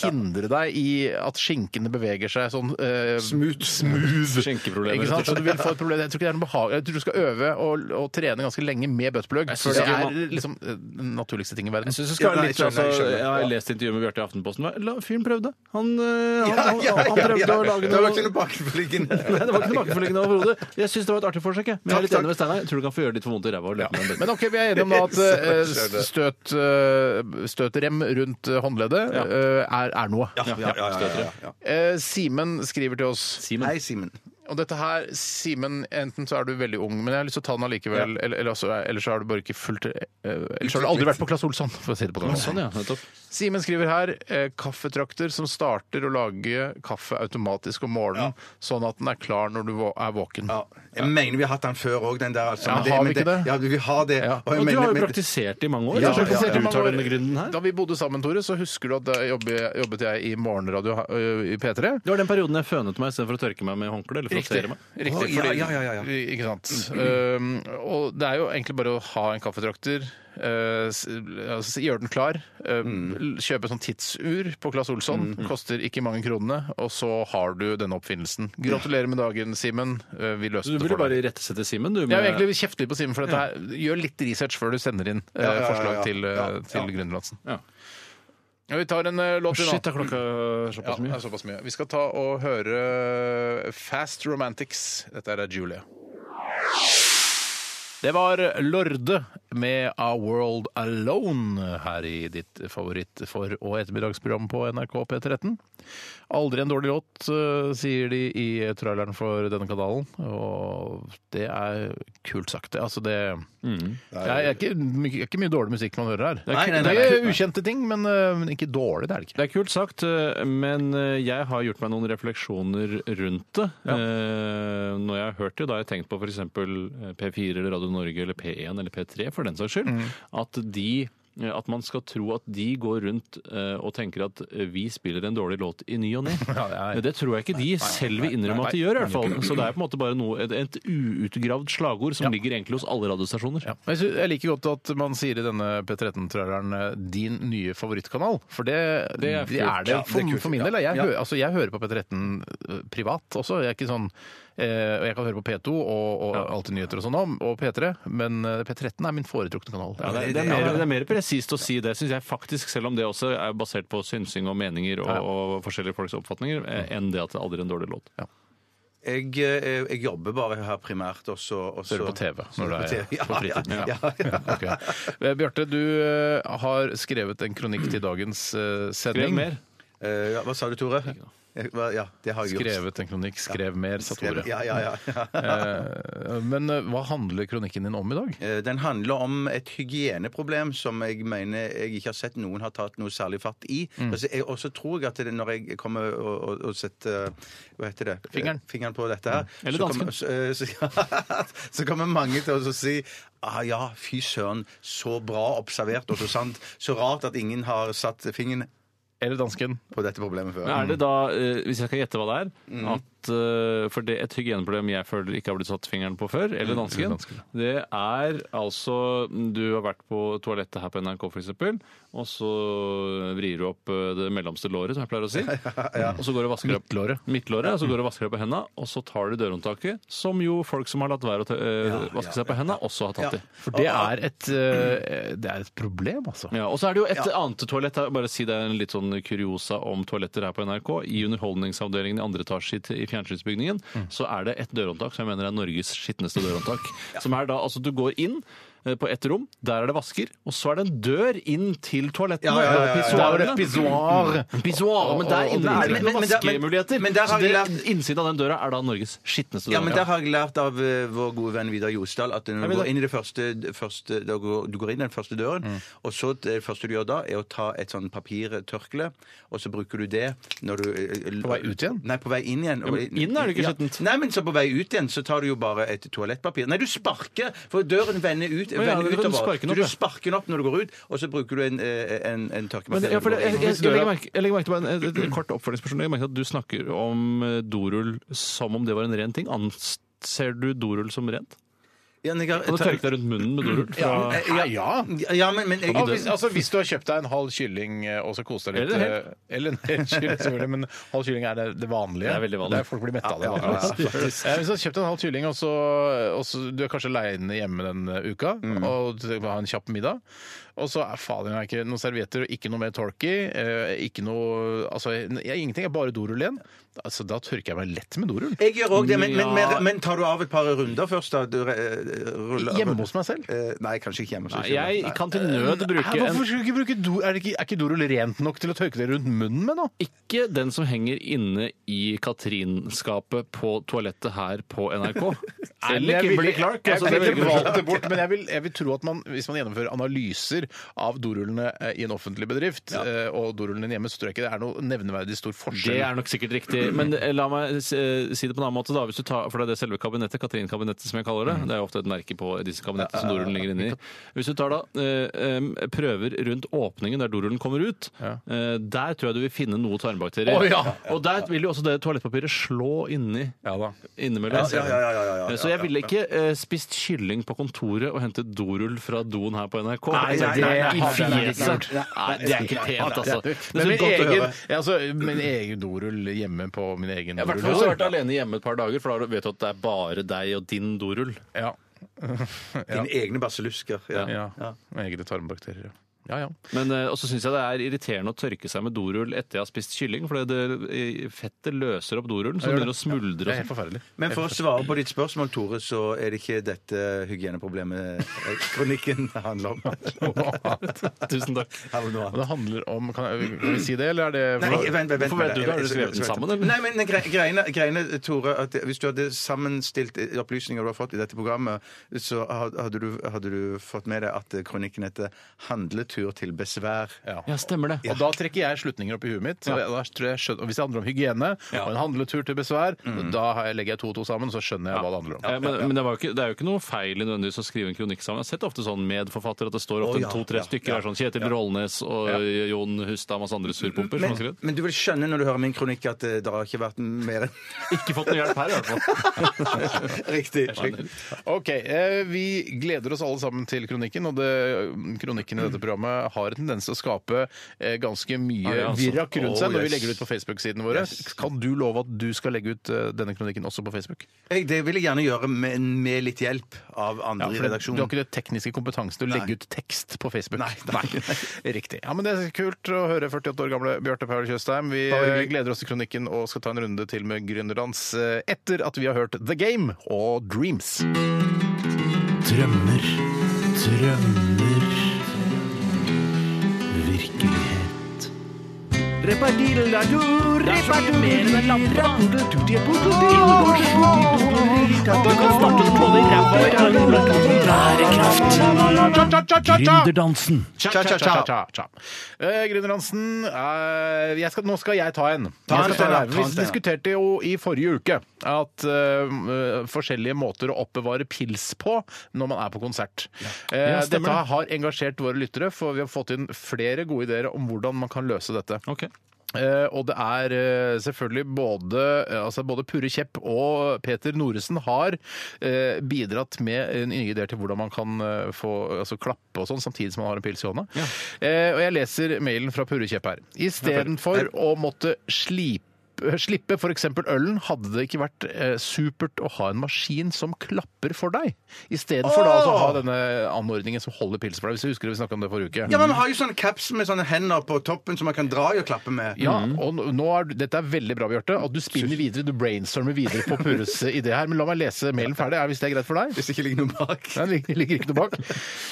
A: hindre deg i at skinkene beveger seg sånn eh,
B: Smooth.
A: smooth.
C: Skjenkeproblemer,
A: Ikke sant?
C: rett og
A: Så du vil få et problem. Jeg tror ikke det er noe behag. Jeg tror du skal øve og, og trene ganske lenge med buttplug.
C: Jeg synes
A: For det
C: ikke
A: er liksom eh, den naturligste ting i verden.
C: Jeg synes det skal
B: Ja,
C: være
B: nei,
C: litt,
B: jeg
C: altså,
B: skjønner, jeg skjønner.
C: jeg har
B: Ja.
C: lest intervjuet med Bjarte i Aftenposten. La, fyren prøvde. Han, eh, han,
B: Ja,
C: han,
B: ja,
C: han
B: ja,
C: prøvde
B: ja.
C: å lage
B: Det var
C: noe
B: ikke noe bakforliggende.
C: Nei, det var ikke tilbakefølgende overhodet. Jeg syns det var et artig forsøk, jeg. Men jeg er litt
B: Takk,
C: enig med Steinar. Jeg Tror du kan få gjøre det litt for vondt i ræva. å løpe med en bøtte.
A: Men ok, vi er enige om da at eh,
B: Skjønner.
A: s- støt, eh, støtrem rundt eh, håndleddet
C: Ja.
A: eh, er, er noe.
B: Ja, ja, ja, ja, ja.
A: Eh, Simen skriver til oss.
C: Simen.
B: Hei, Simen.
A: Og dette her, Simen, enten så er du veldig ung, men jeg har lyst til å ta den allikevel. Eller, eller, også, eller så har du bare ikke fulgt eh, Eller så har du aldri vært på Claes Olsson, for å si det på den måten.
C: Sånn, ja. Nettopp.
A: Simen skriver her eh, kaffetrakter som starter å lage kaffe automatisk om morgenen, sånn at den er klar når du vå- er våken.
B: Ja. Jeg mener vi har hatt den før òg, den der. Altså.
A: Ja,
B: Men
A: har vi
B: men
A: ikke det?
B: Ja, vi har det.
A: Ja.
B: jeg
C: Og du
B: mener-
C: har jo
B: men-
C: praktisert i mange år.
A: Ja,
C: så
A: ja, ja.
C: Du tar denne grunnen her.
A: Da vi bodde sammen, Tore, så husker du at da jobbet, jobbet jeg i morgenradio eh, i P3.
C: Det var den perioden jeg fønet meg istedenfor å tørke meg med håndkle. Eller frottere meg.
A: Riktig,
B: Å, ja,
A: fordi-
B: ja, ja, ja, ja.
A: Ikke sant. Um, og det er jo egentlig bare å ha en kaffetrakter, uh, s- altså, gjøre den klar, uh, l- kjøpe sånn tidsur på Claes Olsson, koster ikke mange kronene, og så har du denne oppfinnelsen. Gratulerer med dagen, Simen. Uh, vi løste
C: Så du
A: det
C: ville
A: for deg.
C: bare irettesette Simen, du.
A: Jeg
C: med-
A: vil egentlig kjefte litt på Simen for dette her. Gjør litt research før du sender inn uh,
B: Ja, ja, ja,
A: forslag
B: ja.
A: til, uh,
B: Ja,
A: til
B: ja.
A: Grønlandsen.
C: Ja.
A: Ja, vi tar en uh, låt til nå.
C: Shit, er klokka
A: Ja,
C: såpass
A: det
C: mye?
A: er såpass mye. Vi skal ta og eh, høre Fast Romantics. Dette er Julia. Det var Lorde med A World Alone her i ditt favoritt for- og ettermiddagsprogram på NRK P13. Aldri en dårlig låt, eh, sier de i traileren for denne kanalen. Og det er kult sagt, det. Altså, det det er, er ikke, my- det er ikke mye dårlig musikk man hører her. Det
C: Mm. Nei,
A: er,
C: nei, nei,
A: det er ukjente ting, men, eh, men ikke dårlig, det er det ikke.
C: Det er kult sagt, eh, men eh, jeg har gjort meg noen refleksjoner rundt det. Eh, Når jeg har hørt det, da har jeg tenkt på f.eks. P4 eller Radio Norge eller P1 eller P3 for den saks skyld.
A: Mm.
C: At de eh, at man skal tro at de går rundt eh, og tenker at eh, vi spiller en dårlig låt i ny og ne.
A: nei.
C: Men det tror jeg ikke de selv vil innrømme at de gjør. i hvert fall. Så det er på en måte bare noe, et, et uutgravd slagord som ligger egentlig hos alle radiostasjoner.
A: Ja. Jeg, synes, jeg liker godt at man sier i denne P13-traileren eh, 'din nye favorittkanal'. For det, det,
C: er
A: er, det
C: kult.
B: Ja, det er
A: for,
B: kult,
A: for min
B: ja.
A: del. Jeg,
B: Ja.
A: hø- altså, jeg hører på P13 eh, privat også. Jeg er ikke sånn eh, og Jeg kan høre på P2 og, og alltid nyheter og sånn om, og P3, men eh, P13 er min foretrukne kanal.
C: Ja, det, er- det, er mer, det er mer presist å si det, syns jeg faktisk, selv om det også er basert på synsing og meninger og, og forskjellige folks oppfatninger, eh, enn det at det aldri er en dårlig låt.
B: Jeg, eh, jeg jobber bare her primært, og så og
A: Ser du på TV når du er
B: Ja,
A: på fritiden?
B: ja, ja.
A: Ok. Eh, Bjarte, du eh, har skrevet en kronikk til dagens eh,
C: Skrev
A: sending.
C: mer.
B: Eh, ja, Hva sa du, Tore? Jeg- hva- Ja, det har jeg gjort.
A: Skrevet en kronikk, skrev mer, sa Tore.
B: Ja, ja, ja.
A: Eh, Men eh, hva handler kronikken din om i dag?
B: Eh, Den handler om et hygieneproblem som jeg mener jeg ikke har sett noen har tatt noe særlig fatt i.
C: Mm.
B: Altså, jeg også tror jeg at det, når jeg kommer og, og, og setter eh, hva heter det? Eh,
A: Fingeren.
B: Fingeren på dette her,
C: Mm. Eller
B: så,
C: dansken.
B: kommer, så, eh, så, så kommer mange til å si ah ja, fy søren, så bra observert og så sant. Så rart at ingen har satt fingeren
A: Eller dansken?
B: på dette problemet før.
C: Men er det da, eh, hvis jeg skal gjette hva det er, at eh, for det et hygieneproblem jeg føler ikke har blitt satt fingeren på før, Mm. eller dansken, det er altså Du har vært på toalettet her på NRK, f.eks., og så vrir du opp eh, det mellomste låret, som jeg pleier å si, og så går du og vasker opp
A: Midtlåret.
C: midtlåret, og så går du og vasker deg på hendene, og så tar du dørhåndtaket, som jo folk som har latt være å ta, eh, vaske seg på hendene, også har tatt i.
A: For det er et, eh, det er et problem, altså.
C: Ja, og så er det jo et annet toalett her. Bare si det er en litt sånn kuriosa om toaletter her på NRK. I underholdningsavdelingen i andre etasje i t- i fjernsynsbygningen
B: Mm.
C: så er det et dørhåndtak som jeg mener er Norges skitneste dørhåndtak. Som er da, altså du går inn eh, på ett rom, der er det vasker, og så er det en dør inn til toalettene.
B: Ja, ja, ja, ja, ja.
C: Pissoarene. Mm.
A: Der er det pissoar.
C: Pissoar, Men der
A: Og- og
C: inne er det
B: driter.
C: ikke
B: Men- men
C: noen
B: der-
C: vaskemuligheter.
B: men der har
C: Så det,
B: jeg lært-
C: innsiden av den døra er da Norges skitneste
B: Ja, men der
C: dørhåndtak.
B: har jeg lært av eh, vår gode venn Vidar Josdal at når
C: Jeg
B: du
C: vet
B: går
C: det.
B: inn i det første, det første da går, Du går inn i den første døren,
C: Mm.
B: og så eh, det første du gjør da, er å ta et sånn papirtørkle, og så bruker du det når du eh,
A: På vei ut igjen?
B: Nei, på vei inn igjen.
C: Ja, men inn er det ikke skjettent.
B: Nei, men så på vei ut igjen så tar du jo bare et toalettpapir. Nei, du sparker, for døren vender ut.
C: ja,
B: vender
C: du
B: utover.
C: sparker den opp,
B: du
C: ja.
B: sparker den opp når du går ut, og så bruker du en, eh, en, en
C: Men,
B: tørkemaskin.
C: ja, for det, jeg,
B: når
C: jeg,
B: du går inn.
C: jeg, legger merke, jeg legger merke til bare en, et, et kort oppfølgingsspørsmål. Jeg legger merke til at du snakker om eh, dorull som om det var en ren ting. Anser du dorull som rent?
B: Ja, men jeg har-
C: Kan du tørke deg rundt munnen med dorull? Fra,
A: Ja, ja, ja.
B: Ja, men, men jeg,
A: Ja, hvis, altså, hvis du har kjøpt deg en halv kylling eh, og så koser deg litt
C: Eller en
A: eh, Eller en hel kylling, selvfølgelig, men halv kylling er det, det vanlige.
C: Det er veldig vanlig.
A: Der folk blir mette av det.
B: Ja, ja, ja,
A: vanligvis. Eh, Hvis du har kjøpt en halv kylling, og så, og så du er kanskje aleine hjemme den eh, uka, og du vil ha en kjapp middag, og så er fader meg ikke noen servietter, og ikke noe mer torky, ikke noe Altså, jeg, ingenting, jeg er bare dorull igjen. Altså, da tørker jeg meg lett med dorull.
B: jeg gjør òg det, men, men, men,
C: Ja.
B: men tar du av et par runder først? da? Du, eh, ruller-
A: Hjemme hos meg selv.
B: Eh, nei, kanskje ikke hjemme. hos
C: Nei,
B: oss, hjemme.
C: jeg kan til nød
A: Hæ,
C: bruke en
A: hvorfor skal du ikke bruke do, er, det ikke, er ikke dorull rent nok til å tørke deg rundt munnen med nå?
C: ikke den som henger inne i Katrinskapet på toalettet her på NRK.
A: Jeg
C: Selv ikke
A: vil-
C: Kimberly Clark.
A: Jeg,
C: altså,
A: jeg,
C: det
A: ville
C: velger du
A: valgt
C: selv.
A: det bort, men jeg vil, jeg vil tro at man, hvis man gjennomfører analyser av dorullene eh, i en offentlig bedrift eh, og dorullene hjemme, så tror jeg ikke det er noe nevneverdig stor
C: Det
A: forskjell.
C: er nok sikkert riktig. Men eh, la meg eh, si det på en annen måte, da. Hvis du tar, for det er det selve kabinettet, Katrin-kabinettet som jeg kaller det. Det er jo ofte et merke på disse kabinettene som dorullen ligger inni. Hvis du tar da eh, em, prøver rundt åpningen der dorullen kommer ut, eh, der tror jeg du vil finne noe tarmbakterier.
A: Å, ja.
C: Og der vil jo også det toalettpapiret slå inni.
A: Ja da.
C: Innimellom.
B: Ja, ja, ja, ja, ja, ja,
C: Så jeg ville ikke eh, spist kylling på kontoret og hentet dorull fra doen her på NRK.
A: Nei, nei,
C: Altså, det
A: nei,
C: er
A: nei,
C: I
A: nei, nei,
C: fjeset! Nei, det er ikke pent, altså. Det
A: Men
C: er
A: min
C: godt å
A: egen,
C: høre.
A: ja, altså, min egen dorull hjemme på min egen
C: I hvert fall hvis du har vært alene hjemme et par dager, for da vet du at det er bare deg og din dorull.
A: Ja.
B: Dine egne basillusker. Ja.
A: ja. Med egne tarmbakterier. ja. Ja, ja.
C: Men eh, også syns jeg det er irriterende å tørke seg med dorull etter jeg har spist kylling, for det, eh, fettet løser opp dorullen, så
A: Ja,
C: det
A: gjør
C: begynner å smuldre.
A: Det er
C: og sånn.
A: helt forferdelig.
B: Men for å svare på ditt spørsmål, Tore, så er det ikke dette hygieneproblemet eh, kronikken handler om.
C: Tusen takk.
B: Har vi noe annet?
A: Og det handler om Kan jeg, kan vi si det, eller er det
B: Nei, vent, vent, vent,
C: Hvorfor
B: med
C: vent du
B: det.
C: ikke? Har dere skrevet den sammen, eller?
B: Nei, men gre- greiene, greiene, Tore, at hvis du hadde sammenstilt opplysninger du har fått i dette programmet, så hadde hadde du, hadde du fått med deg at kronikken heter 'Handletur til besvær'.
A: Ja.
C: Ja, stemmer det.
A: Og da trekker jeg slutninger opp i huet mitt. Og da tror jeg skjønner, og hvis det handler om hygiene og en handletur til besvær,
C: Mm.
A: da har jeg- legger jeg to og to sammen, så skjønner jeg hva det handler om.
C: Eh, Men, men det, var jo ikke, det er jo ikke noe feil i nødvendigvis å skrive en kronikk sammen. Jeg har sett ofte sånn medforfatter at det står ofte
B: Å, ja,
C: to-tre
B: ja,
C: stykker.
B: ja.
C: er sånn Kjetil Rollnes og Jon Hustad og masse andre surpumper. som har
B: Men,
C: skrevet.
B: men du vil skjønne når du hører min kronikk at eh, det har ikke vært mer enn
C: Ikke fått noe hjelp her, i hvert fall.
B: riktig.
A: Ok, eh, Vi gleder oss alle sammen til kronikken. og det, Kronikken i dette programmet har en tendens til å skape eh, ganske mye
C: Mm. Ja, det er altså-
A: virak rundt seg
B: Oh,
A: når vi
B: yes.
A: legger det ut på Facebook-sidene våre. Kan du love at du skal legge ut eh, denne kronikken også på Facebook?
B: Jeg, det vil jeg gjerne gjøre med, med litt hjelp av andre i
A: for det- Du
B: redaksjonen.
A: har ikke det tekniske kompetansen til å legge ut tekst på Facebook. Nei, Riktig. Ja, men Det er kult å høre 48 år gamle Bjarte Paul Tjøstheim. Vi eh, gleder oss til kronikken og skal ta en runde til med Gründerdans eh, etter at vi har hørt The Game og Dreams.
F: Drømmer, drømmer Virkelighet Gründerdansen.
A: Cha-cha-cha! Gründerdansen, eh, jeg skal- nå skal jeg ta en.
B: Ta en,
A: Jeg skal ta
B: Steinar,
A: en.
B: ta en,
A: Vi
B: Steinar.
A: diskuterte jo i forrige uke at eh, eh, forskjellige måter å oppbevare pils på når man er på konsert. Eh,
C: Ja,
A: dette
C: stemmer det.
A: har engasjert våre lyttere, for vi har fått inn flere gode ideer om hvordan man kan løse dette.
C: Ok.
A: Eh, og det er eh, selvfølgelig både, eh, altså både Purre Kjepp og Peter Noresen har eh, bidratt med en nye ideer til hvordan man kan eh, få altså, klappe og sånn samtidig som man har en pils i hånda. Eh, og jeg leser mailen fra Purre Kjepp her. Istedenfor å måtte slipe eh, Slippe f.eks. ølen hadde det ikke vært eh, supert å ha en maskin som klapper for deg. Istedenfor da altså, å ha denne anordningen som holder pils for deg. Hvis du husker det vi snakka om det forrige uke.
B: Ja, men Man har jo sånne caps med sånne hender på toppen som man kan dra i og klappe med.
A: Ja, og nå- nå er, Dette er veldig bra, Bjarte. At du spinner videre, du brainstormer videre på Purres idé her. Men la meg lese mailen ferdig, er- hvis det er greit for deg?
B: Hvis det ikke ligger noe bak.
A: Nei, det ligger- ligger ikke noe bak.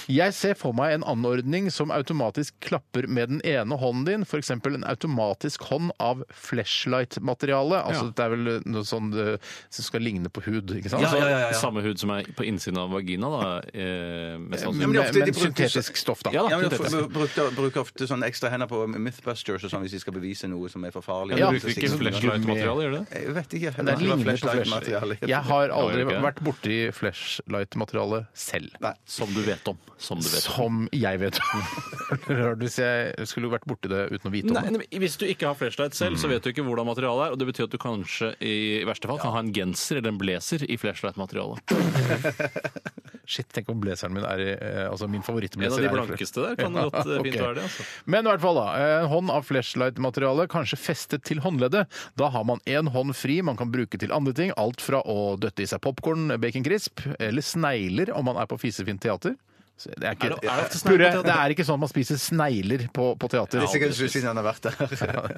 A: Jeg ser for meg en anordning som automatisk klapper med den ene hånden din, f.eks. en automatisk hånd av flashlight-materiale. Altså, Dette er vel noe sånn eh, som skal ligne på hud, ikke sant?
C: Altså,
B: ja, ja, ja.
C: Samme hud som er på innsiden av vagina, da. Eh, mest sannsynlig.
B: men det
A: Med,
B: er ofte de
A: med
B: bruker-
A: syntetisk stoff, da.
C: Ja da.
B: Ja, men
C: dette er
B: for, bruker, bruker ofte sånne ekstra hender på Mythbusters og sånn hvis de skal bevise noe som er for farlig.
C: Ja,
A: Ja,
C: du bruker ikke
A: så-
C: flashlight-materiale, gjør du det?
B: Jeg vet ikke.
A: Det ligner på
B: flashlight-materiale.
A: flashlight. Jeg har aldri
C: Ja, gjør det ikke
A: vært borti flashlight-materiale selv.
B: Nei.
C: Som du vet om. Som du vet om.
A: Som jeg vet om. Rart Hvis jeg skulle vært borti det uten å vite om
C: Nei,
A: det.
C: nei, men hvis du ikke har flashlight selv, så vet du ikke hvordan materialet er. Og det betyr at du kanskje i verste fall kan ha en genser eller en blazer i flashlight-materialet.
A: Shit, tenk om blazeren min er i eh, Altså min
C: En av
A: favorittblazer
C: de
A: er i
C: blankeste der kan godt eh, fint
A: ok.
C: være det. altså.
A: Men i hvert fall, da. eh, En hånd av flashlight-materiale, kanskje festet til håndleddet. Da har man én hånd fri man kan bruke til andre ting. Alt fra å døtte i seg popkorn, bacon crisp, eller snegler om man er på fisefint teater. Så Det er, ikke,
C: Er det- er det ofte snegler på
A: Purre,
C: teater?
A: det er ikke sånn at man spiser snegler på, på teater.
B: Det er sikkert en stund siden han har vært der.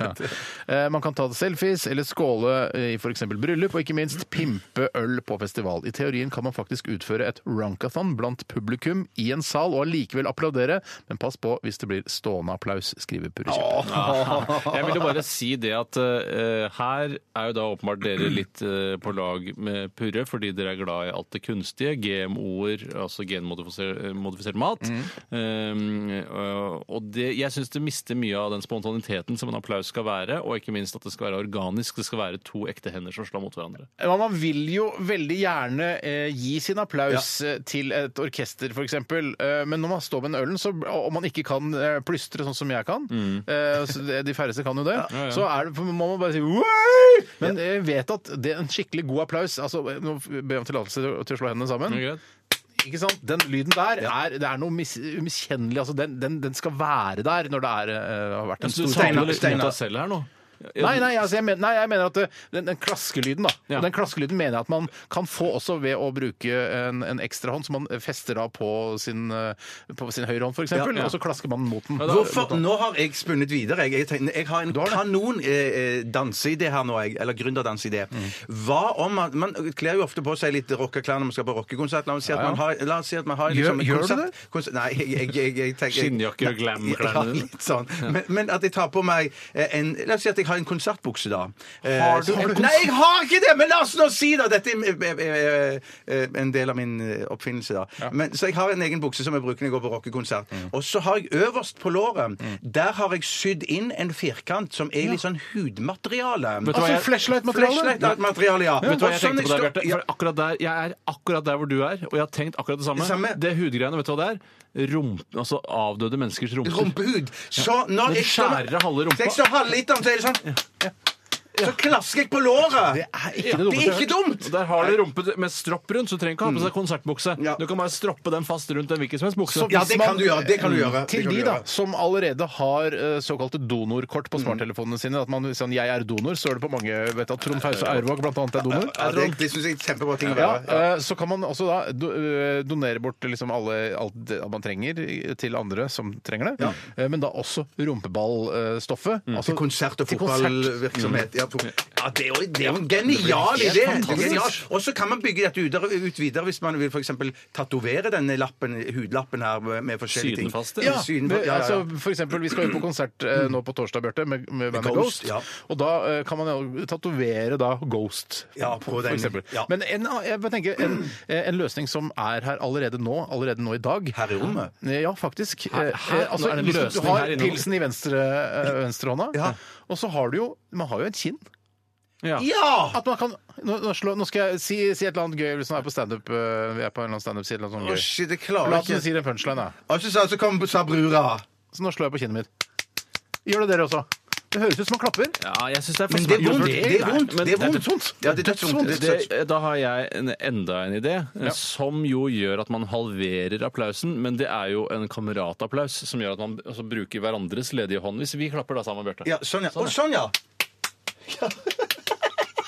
A: Ja. Eh, Man kan ta selfies eller skåle eh, i f.eks. bryllup, og ikke minst pimpe øl på festival. I teorien kan man faktisk utføre et runkathon blant publikum i en sal og allikevel applaudere, men pass på hvis det blir stående applaus, skriver Purre Kjepp.
C: Jeg ville bare si det at eh, her er jo da åpenbart dere litt eh, på lag med Purre, fordi dere er glad i alt det kunstige. GMO-er, altså genmodifisert mat. Eh, og- og det, jeg syns det mister mye av den spontaniteten som en applaus skal være, og ikke minst at det skal være organisk. Det skal være to ekte hender som slår mot hverandre.
A: Ja, man vil jo veldig gjerne eh, gi sin applaus eh, til et orkester, f.eks. Eh, men når man står med den ølen, så, og og man ikke kan eh, plystre sånn som jeg kan eh, så det- De færreste kan jo det. Så er det, må man bare si «Wei!» Men jeg vet at det er en skikkelig god applaus altså, Nå ber jeg om tillatelse til å- til å slå hendene sammen.
C: Er det greit?
A: Ikke sant? Den lyden der er, det er noe mis, umiskjennelig. Altså, den, den, den skal være der når det er, eh, har vært en
C: Du
A: stor
C: samler
B: Steinar,
C: litt mot
B: Steinar.
C: deg selv her nå.
A: Nei, nei, altså, jeg, mener, nei jeg mener at eh, den, den klaskelyden, da.
C: Ja.
A: Den klaskelyden mener jeg at man kan få også ved å bruke en, en ekstrahånd som man fester da på sin, eh, på sin høyre hånd, f.eks.,
C: Ja, ja.
A: og så klasker man mot den.
B: Hvorfor? Nå har jeg spunnet videre. Jeg, jeg, tenker- jeg har en
A: har det.
B: kanon eh, eh, danseidé her nå, jeg, eller gründerdanseidé.
A: Mm.
B: Hva om man Man kler jo ofte på seg litt rockeklær når man skal på rockekonsert. La oss si at man har, la oss si at man har
A: Gjør-
B: liksom, en
A: gjør du
B: konsert-
A: det?
B: konsert- nei, jeg, jeg, jeg, jeg tenker jeg-
C: Skinnjakke og glam-klærne
B: Ja,
C: dine.
B: litt sånn. Men, men at jeg tar på meg eh, en La oss si at jeg har en konsertbukse, da. Eh,
A: Har du-
B: så-
A: har du kons-
B: Nei, jeg har ikke det! Men la oss nå si, da! Dette er eh, eh, eh, en del av min eh, oppfinnelse, da. Men, så jeg har en egen bukse som jeg bruker når jeg går på rockekonsert.
C: Mm.
B: Og så har jeg øverst på låret Der har jeg sydd inn en firkant som er litt sånn hudmateriale. Altså,
C: Vet du hva jeg-
A: flashlight-materiale?
B: Flashlight-materiale, ja.
C: Vet du hva jeg
B: Og sånn
C: tenkte på deg,
B: står-
C: Bjarte?
B: Ja.
C: For akkurat der, jeg er akkurat der hvor du er, og jeg har tenkt akkurat det samme.
B: Det samme.
C: hudgreiene, vet du hva det er? Rump, altså avdøde menneskers rumper.
B: Rumpehud. Så når
C: Men
B: jeg
C: skjærer av halve rumpa.
B: Så jeg står halvliteren, så er det sånn Så klasker jeg på låret! Det
A: er ikke det
B: det
A: dummeste jeg
B: er
A: har
B: ikke dumt! Mm.
C: Og Der har du rumpe med stropp rundt, så du trenger ikke ha på seg konsertbukse.
B: Ja.
C: Du kan bare stroppe den fast rundt en hvilken som helst bukse.
B: Ja, det kan du gjøre. Det kan du gjøre. det
A: Til
B: kan
A: de
B: du
A: da,
B: gjøre.
A: som allerede har eh, såkalte donorkort
B: Mm.
A: på smarttelefonene sine. At man sier 'jeg er donor', så er det på mange vet du, at Trond Fause Aurvåg blant annet er donor.
B: Ja, det det syns jeg er en kjempebra ting å
A: Ja,
B: gjøre.
A: eh, Så kan man også da do- eh, donere bort liksom alle, alt det man trenger i- til andre som trenger det. Eh, Men da også rumpeballstoffet. Altså
B: Mm. Til konsert og
A: til konsert.
B: fotballvirksomhet. Ja, fot- ja, det er jo det er jo en genial idé! Det er genialt. Og så kan man bygge dette ut, ut videre hvis man vil f.eks. tatovere denne lappen, hudlappen her med- med forskjellige ting.
C: Sydenfaste.
A: Ja,
B: Sydenfa-
A: men,
B: ja, ja, ja.
A: Altså, for eksempel, vi skal jo på konsert eh, nå på torsdag, Bjarte, med, med bandet Ghost.
B: Ghost, ja.
A: Og da eh, kan man jo tatovere da Ghost,
B: Ja, på den,
A: eksempel.
B: ja.
A: Men en, jeg bare tenker, en, eh, en løsning som er her allerede nå, allerede nå i dag Eh,
B: Her i rommet.
A: Ja, faktisk.
C: Her- her?
A: Eh, altså,
C: Nå er det en
A: hvis du
C: løsning her
A: har
C: inne nå.
A: pilsen i venstre, eh, venstrehånda,
B: Ja.
A: og så har du jo Man har jo et kinn.
C: Ja.
B: Ja!
A: At man kan, nå, nå, slå, nå skal jeg si, si et eller annet gøy hvis man er på standup. eh, Vi er på en eller annen standup-side. eller noe
B: Å,
A: sånt gøy.
B: shit, det
A: La
B: klarer
A: oss
B: jeg ikke.
A: si en punchline, da.
B: Og så sa- så kom sa brura.
A: Så nå slår jeg på kinnet mitt. Gjør det dere også. Det høres ut som man klapper.
C: Ja, jeg synes det er
B: Men det er
C: fascinerende.
B: vondt. Det er vondt.
C: Men
B: Det er vondt.
A: dødsvondt.
B: Ja, det er dødsvondt. Det er
C: Sånn, Det,
B: dødsvondt.
C: da har jeg en, enda en idé, eh, som jo gjør at man halverer applausen. Men det er jo en kameratapplaus som gjør at man altså, bruker hverandres ledige hånd. Hvis vi klapper da sammen, Bjarte.
B: Ja, sånn, ja. Å, sånn, ja.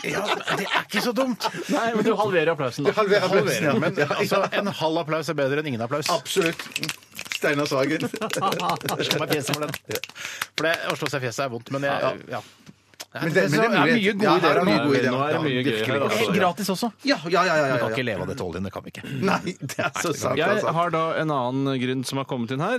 A: Ja, det er ikke så dumt.
C: Nei, men du halverer applausen, da.
B: Halvere applausen, ja.
A: Men altså, en halv applaus er bedre enn ingen applaus.
B: Absolutt. Steinar Sagen.
A: Slå meg i fjeset med den. For det å slå seg i fjeset er vondt, men jeg ja.
B: Men det- men det er mulighet.
A: mye
B: Ja,
A: gode
B: her
A: ideer.
B: er mye
A: her
B: gode
A: nå.
B: ideer.
C: Nå er det mye
B: Ja,
C: gøy her.
A: Og Helt
C: Altså.
A: gratis også.
B: Ja, ja, ja. ja,
A: Vi
B: ja,
A: kan
B: ja.
A: ikke leve av det oljen, det kan vi ikke.
B: Nei, det er så sant,
C: Jeg
B: altså.
C: har da en annen grunn som har kommet inn her,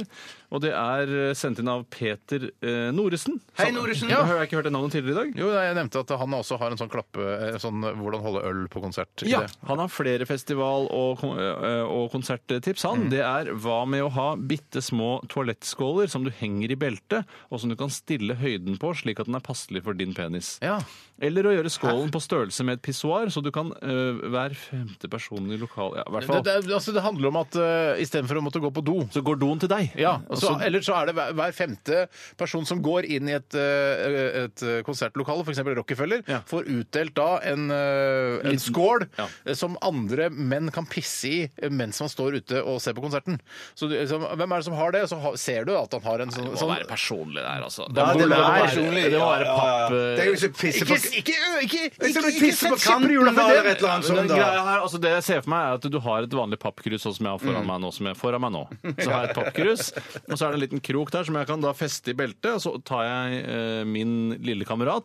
C: og det er eh, sendt inn av Peter eh, Noresen.
B: Hei, Noresen.
C: Ja. Har jeg ikke hørt det navnet tidligere i dag?
A: Jo, nei, jeg nevnte at han også har en sånn klappe eh, sånn eh, hvordan holde øl på konsert.
C: Ja,
A: idé.
C: han har flere festival- og, kon- øh, og konserttips. Han, Det er hva med å ha bitte små toalettskåler som du henger i beltet, og som du kan stille høyden på slik at den er passelig for din penis.
A: Ja.
C: Eller å gjøre skålen på størrelse med et pissoar, så du kan øh, hver femte person i lokalet ja, i hvert
A: Det,
C: fall.
A: det, er- altså, det handler om at uh, istedenfor å måtte gå på do
C: Så går doen til deg.
A: Ja,
C: Og
A: så,
C: så-
A: eller så er det hver, hver femte person som går inn i et, eh, et eh, konsertlokale, f.eks. Rockefeller,
C: Ja.
A: får utdelt da en, eh, en skål
C: Ja.
A: eh, som andre menn kan pisse i eh, mens man står ute og ser på konserten. Så, du- liksom, hvem er det som har det? Så ha, ser du at han har en sånn,
C: det må
A: sånn
C: være personlig der, altså.
A: Ja, det må
C: må
A: være
B: personlig.
C: det må være
B: Ja, ja, ja.
C: papp... øh,
B: Det er jo så pisse på
A: ikke,
B: Hvis
C: sånn
B: du pisser på kanten da, eller et eller annet
C: Men
B: sånt,
C: den
B: da.
C: greia her, altså det jeg ser for meg er at Du har et vanlig pappkrus sånn som jeg har
B: Mm.
C: foran meg nå. Som jeg har foran meg nå. Så har jeg et pappkrus, og så er det en liten krok der som jeg kan da feste i beltet. og Så tar jeg eh, min lille kamerat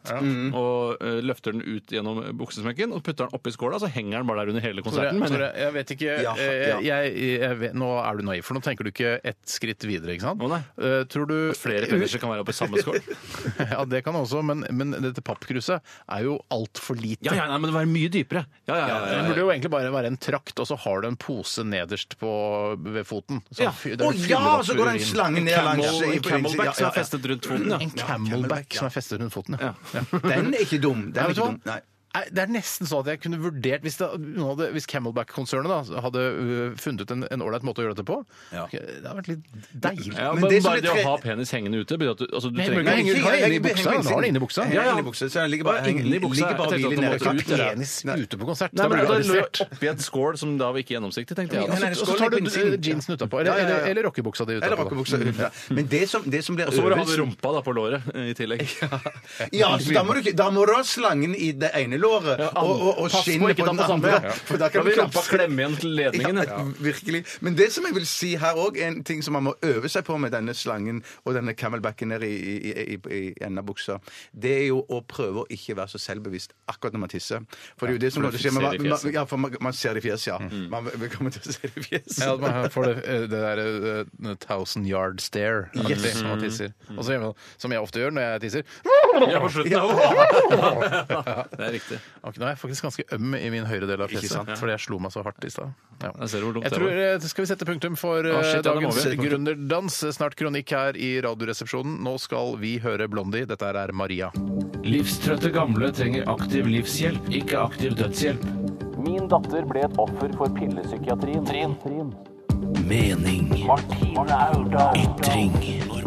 C: og eh, løfter den ut gjennom buksesmekken og putter den oppi skåla. Så henger den bare der under hele
A: Tore,
C: konserten. Sånn mener
A: Tore,
C: jeg.
A: jeg vet ikke
B: Ja,
A: eh,
B: ja.
A: Jeg, jeg vet, Nå er du naiv, for nå tenker du ikke ett skritt videre, ikke sant?
C: Å, nei.
A: Eh, tror du
C: Flere peniser kan være oppi samme skål.
A: Ja, det kan også, men, men dette pappkruset er jo altfor lite.
C: Ja, ja, nei, men det må være mye dypere. Ja, ja, ja,
A: Det
C: ja,
A: burde
C: ja.
A: jo egentlig bare være en trakt, og så har du en pose nederst på, ved foten. som
C: Ja.
A: fy- der
B: Å
A: du fyller
B: ja,
A: opp
B: så går det en
A: urin.
B: slange ned
C: Camel,
B: langs i- på innsiden.
C: camelback som
B: Ja,
C: er festet rundt foten. Ja.
A: En camelback som er festet rundt foten, ja.
B: ja. Den er ikke dum. Den
A: Nei,
B: er
A: vet du hva?
B: ikke dum. Nei.
A: Nei, Det er nesten sånn at jeg kunne vurdert Hvis, det- noen hadde- hvis Camelback-konsernet da hadde ø, funnet ut en en ålreit måte å gjøre dette på
C: Ja.
A: ok, Det hadde vært litt deilig.
C: Ja,
B: Men
C: men
B: det som
C: bare
B: er
C: det
B: tre-
C: å ha penis hengende ute betyr at du, altså, du
A: Nei,
C: trenger
A: men
C: ikke
A: henger- har det inne i
B: henger-
A: buksa? Han
B: henger-
A: har det
C: altså.
A: inne i buksa.
B: Ja, ja. Inne i buksa, så han ligger bare,
C: Bare inni
B: ligger
C: buksa.
B: bare
C: Jeg tenkte at
B: bilen
C: det
B: nede.
C: måtte ut, ja.
A: Penis ute på konsert.
C: Nei,
A: Da blir
C: men
A: du
C: det lå
A: arrestert.
C: oppi en skål som da var ikke gjennomsiktig, tenkte jeg.
B: Ja, nei,
C: Altså.
B: det
A: Og
B: skål
A: så tar
B: i
A: du
B: pinnsvin.
A: ø, jeansen utapå.
B: Ja,
A: Eller,
B: ja, ja.
A: eller, eller rockebuksa di
B: Eller
A: utapå.
B: rockebuksa. Ja. Men det som, det som blir
C: Og Mm. så må du ha
B: øverst-
C: rumpa da på låret eh, i tillegg.
B: Ja, så da må du, ikke- da må du ha slangen i det ene låret
C: Ja,
B: og, og, og
C: pass på
B: skinnet
C: ikke ta
B: på den
C: på
B: andre.
C: samme.
B: For da kan
C: Da
B: du
C: vil rumpa
B: klapse.
C: klemme igjen til ledningen.
B: Ja, virkelig. Men det som jeg vil si her òg, en ting som man må øve seg på med denne slangen og denne camelbacken nede i, i, i, i enden av buksa, det er jo å prøve å ikke være så selvbevisst akkurat når man tisser. For det er jo det som
C: for
B: kommer
C: du
B: til å skje.
C: ser
B: men
C: det i
B: Man,
C: fjeset. Mm.
B: man, ja, for man, man ser det i fjeset, ja. Man vil komme til å se det i fjeset.
A: Ja, at man får det, det der eh, thousand yard stare aktig når
C: Mm.
A: man liksom tisser. Og så gjør man som jeg ofte gjør når jeg tisser.
C: Ja, på slutten av Det er riktig.
A: Ok, nå er jeg faktisk ganske øm i min høyre del av fjeset, fordi jeg slo meg så hardt i stad. Ja.
C: Jeg ser hvor dumt
A: Jeg
C: det
A: tror,
C: var.
A: eh, Skal vi sette punktum for eh,
C: Ah, shit, ja, det må
A: dagens
C: vi.
A: gründerdans? Snart kronikk her i Radioresepsjonen. Nå skal vi høre Blondie. Dette her er Maria.
F: Livstrøtte gamle trenger aktiv livshjelp, ikke aktiv dødshjelp.
G: Min datter ble et offer for pillepsykiatrien.
F: Mening. Ytring.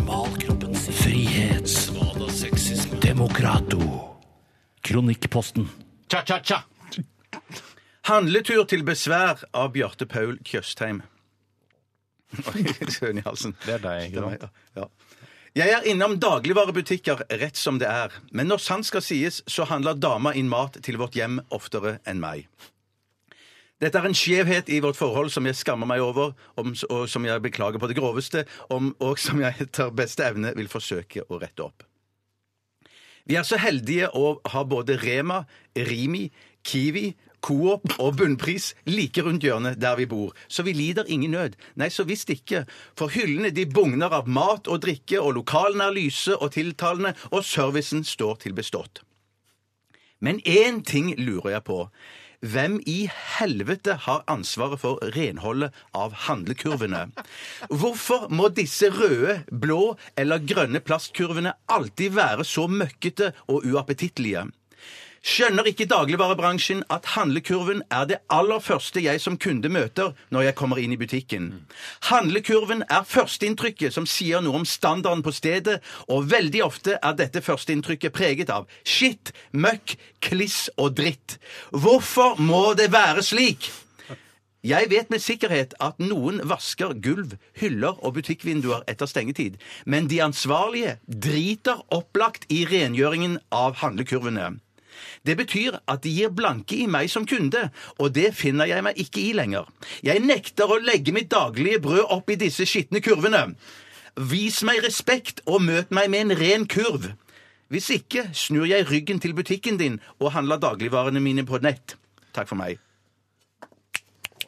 F: Normalkroppen sin. Frihet. Demokrato. Kronikkposten.
A: Cha-cha-cha!
B: Handletur til besvær av Bjarte Paul Tjøstheim. Søren i halsen.
A: Det er deg, ikke sant?
B: Ja, ja. Jeg er innom dagligvarebutikker rett som det er, men når sant skal sies, så handler dama inn mat til vårt hjem oftere enn meg. Dette er en skjevhet i vårt forhold som jeg skammer meg over, om, og som jeg beklager på det groveste, om, og som jeg etter beste evne vil forsøke å rette opp. Vi er så heldige å ha både Rema, Rimi, Kiwi, Coop og Bunnpris like rundt hjørnet der vi bor, så vi lider ingen nød. Nei, så visst ikke, for hyllene de bugner av mat og drikke, og lokalene er lyse og tiltalende, og servicen står til bestått. Men én ting lurer jeg på. Hvem i helvete har ansvaret for renholdet av handlekurvene? Hvorfor må disse røde, blå eller grønne plastkurvene alltid være så møkkete og uappetittlige? Skjønner ikke dagligvarebransjen at handlekurven er det aller første jeg som kunde møter når jeg kommer inn i butikken. Handlekurven er førsteinntrykket som sier noe om standarden på stedet, og veldig ofte er dette førsteinntrykket preget av skitt, møkk, kliss og dritt. Hvorfor må det være slik? Jeg vet med sikkerhet at noen vasker gulv, hyller og butikkvinduer etter stengetid, men de ansvarlige driter opplagt i rengjøringen av handlekurvene. Det betyr at de gir blanke i meg som kunde, og det finner jeg meg ikke i lenger. Jeg nekter å legge mitt daglige brød opp i disse skitne kurvene. Vis meg respekt og møt meg med en ren kurv. Hvis ikke snur jeg ryggen til butikken din og handler dagligvarene mine på nett. Takk for meg.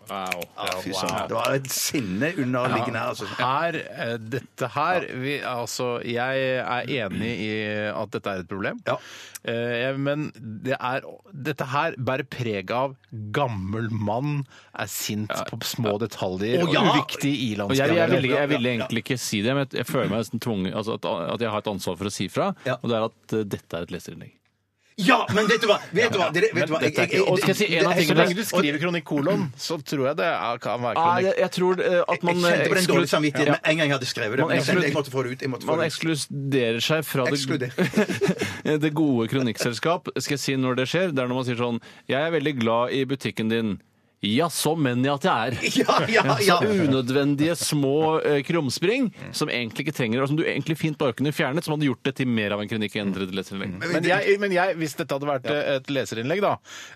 C: Wow.
B: Fy søren. Det var et sinne underliggende her. Altså.
A: Er eh, dette her vi, Altså, jeg er enig i at dette er et problem.
B: Ja.
A: Eh, jeg- men det er, dette her bærer preg av gammel mann er sint på små detaljer
B: Å,
A: og
B: ja.
A: uviktig
C: Og jeg, jeg, ville,
A: ilandsgreier.
C: jeg ville egentlig ikke si det, men jeg føler meg nesten tvunget altså at, at jeg har et ansvar for å si fra.
B: Ja.
C: Og det er at eh, dette er et leserinnlegg.
B: Ja, men vet du hva? Vet du hva? Dere- vet du hva? Jeg- jeg- jeg-
C: Og skal jeg si en av
A: Så
C: tingene
A: lenge du skriver kronikk kolon, så tror Ah, jeg det er, kan være
C: Nei,
A: kronikk.
C: jeg, jeg tror eh, at man
B: Jeg kjente på den dårlige
C: eksklu-
B: samvittigheten
C: Ja.
B: med en gang jeg hadde skrevet det.
C: Man
B: Men jeg,
C: eksklu-
B: jeg måtte få det ut. Jeg måtte få
C: Man
B: det ut.
C: ekskluderer seg fra det, det gode kronikkselskap. Skal jeg si når det skjer? Det er når man sier sånn Jeg er veldig glad i butikken din. Jaså, mener jeg at jeg er.
B: Ja, ja, ja.
C: Så unødvendige små eh, krumspring som egentlig ikke trenger det, og som du egentlig fint bare kunne fjernet, som hadde gjort det til mer av en kronikk enn et leserinnlegg.
A: Men, jeg, men jeg, hvis dette hadde vært eh, et leserinnlegg, da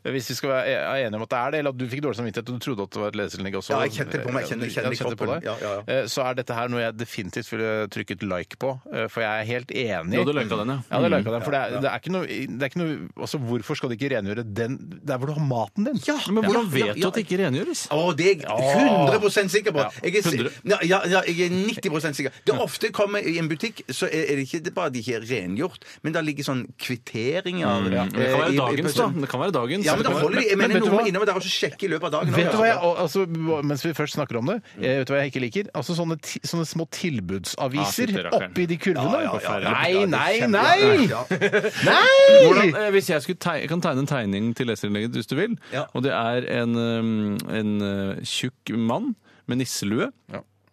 A: Hvis vi skal være er enige om at det er det, eller at du fikk dårlig samvittighet og du trodde at det var et leserinnlegg også
B: Ja, jeg kjente det på meg, jeg
A: Ja,
B: kjenner-
A: du-
B: kjenner
A: ja, du
B: i kroppen. Ja, ja, ja.
A: Eh, Så er dette her noe jeg definitivt ville trykket like på, eh, for jeg er helt enig.
C: Du hadde liket den, ja.
A: Ja, det liket den, for det
B: Mm.
A: er, det er ikke noe, det er ikke noe altså, Hvorfor skal de ikke rengjøre den der hvor du har maten din?
C: Men hvordan vet du at at det ikke rengjøres.
B: Å, det er jeg 100 sikker på. Jeg er, si-
C: 100.
B: ja, ja, ja, jeg er 90 sikker. Det er ofte kommer i en butikk, så er er det ikke det er bare at de ikke er rengjort, men det ligger sånn kvitteringer
C: Mm. Men Det kan være dagens, da. Det kan være dagens.
B: Eh, Ja, men da holder de, jeg
A: Men
B: mener
A: vet du
B: noen må
A: hva?
B: innom der og så sjekke i løpet av dagen.
A: Vet du
B: også.
A: hva jeg, og- altså, mens vi først snakker om det, eh, vet du hva jeg ikke liker? Altså Sånne, ti, sånne små tilbudsaviser
C: Ah, fytti rakkeren.
A: oppi de kurvene.
B: Ja, ja, ja.
A: Nei, nei,
B: Ja,
A: nei!
B: Ja.
C: Hvordan,
A: Nei!
C: eh, hvis jeg skulle teg jeg kan tegne en tegning til leserinnlegget hvis du vil,
B: Ja.
C: og det er en, eh, en eh, tjukk mann med nisselue.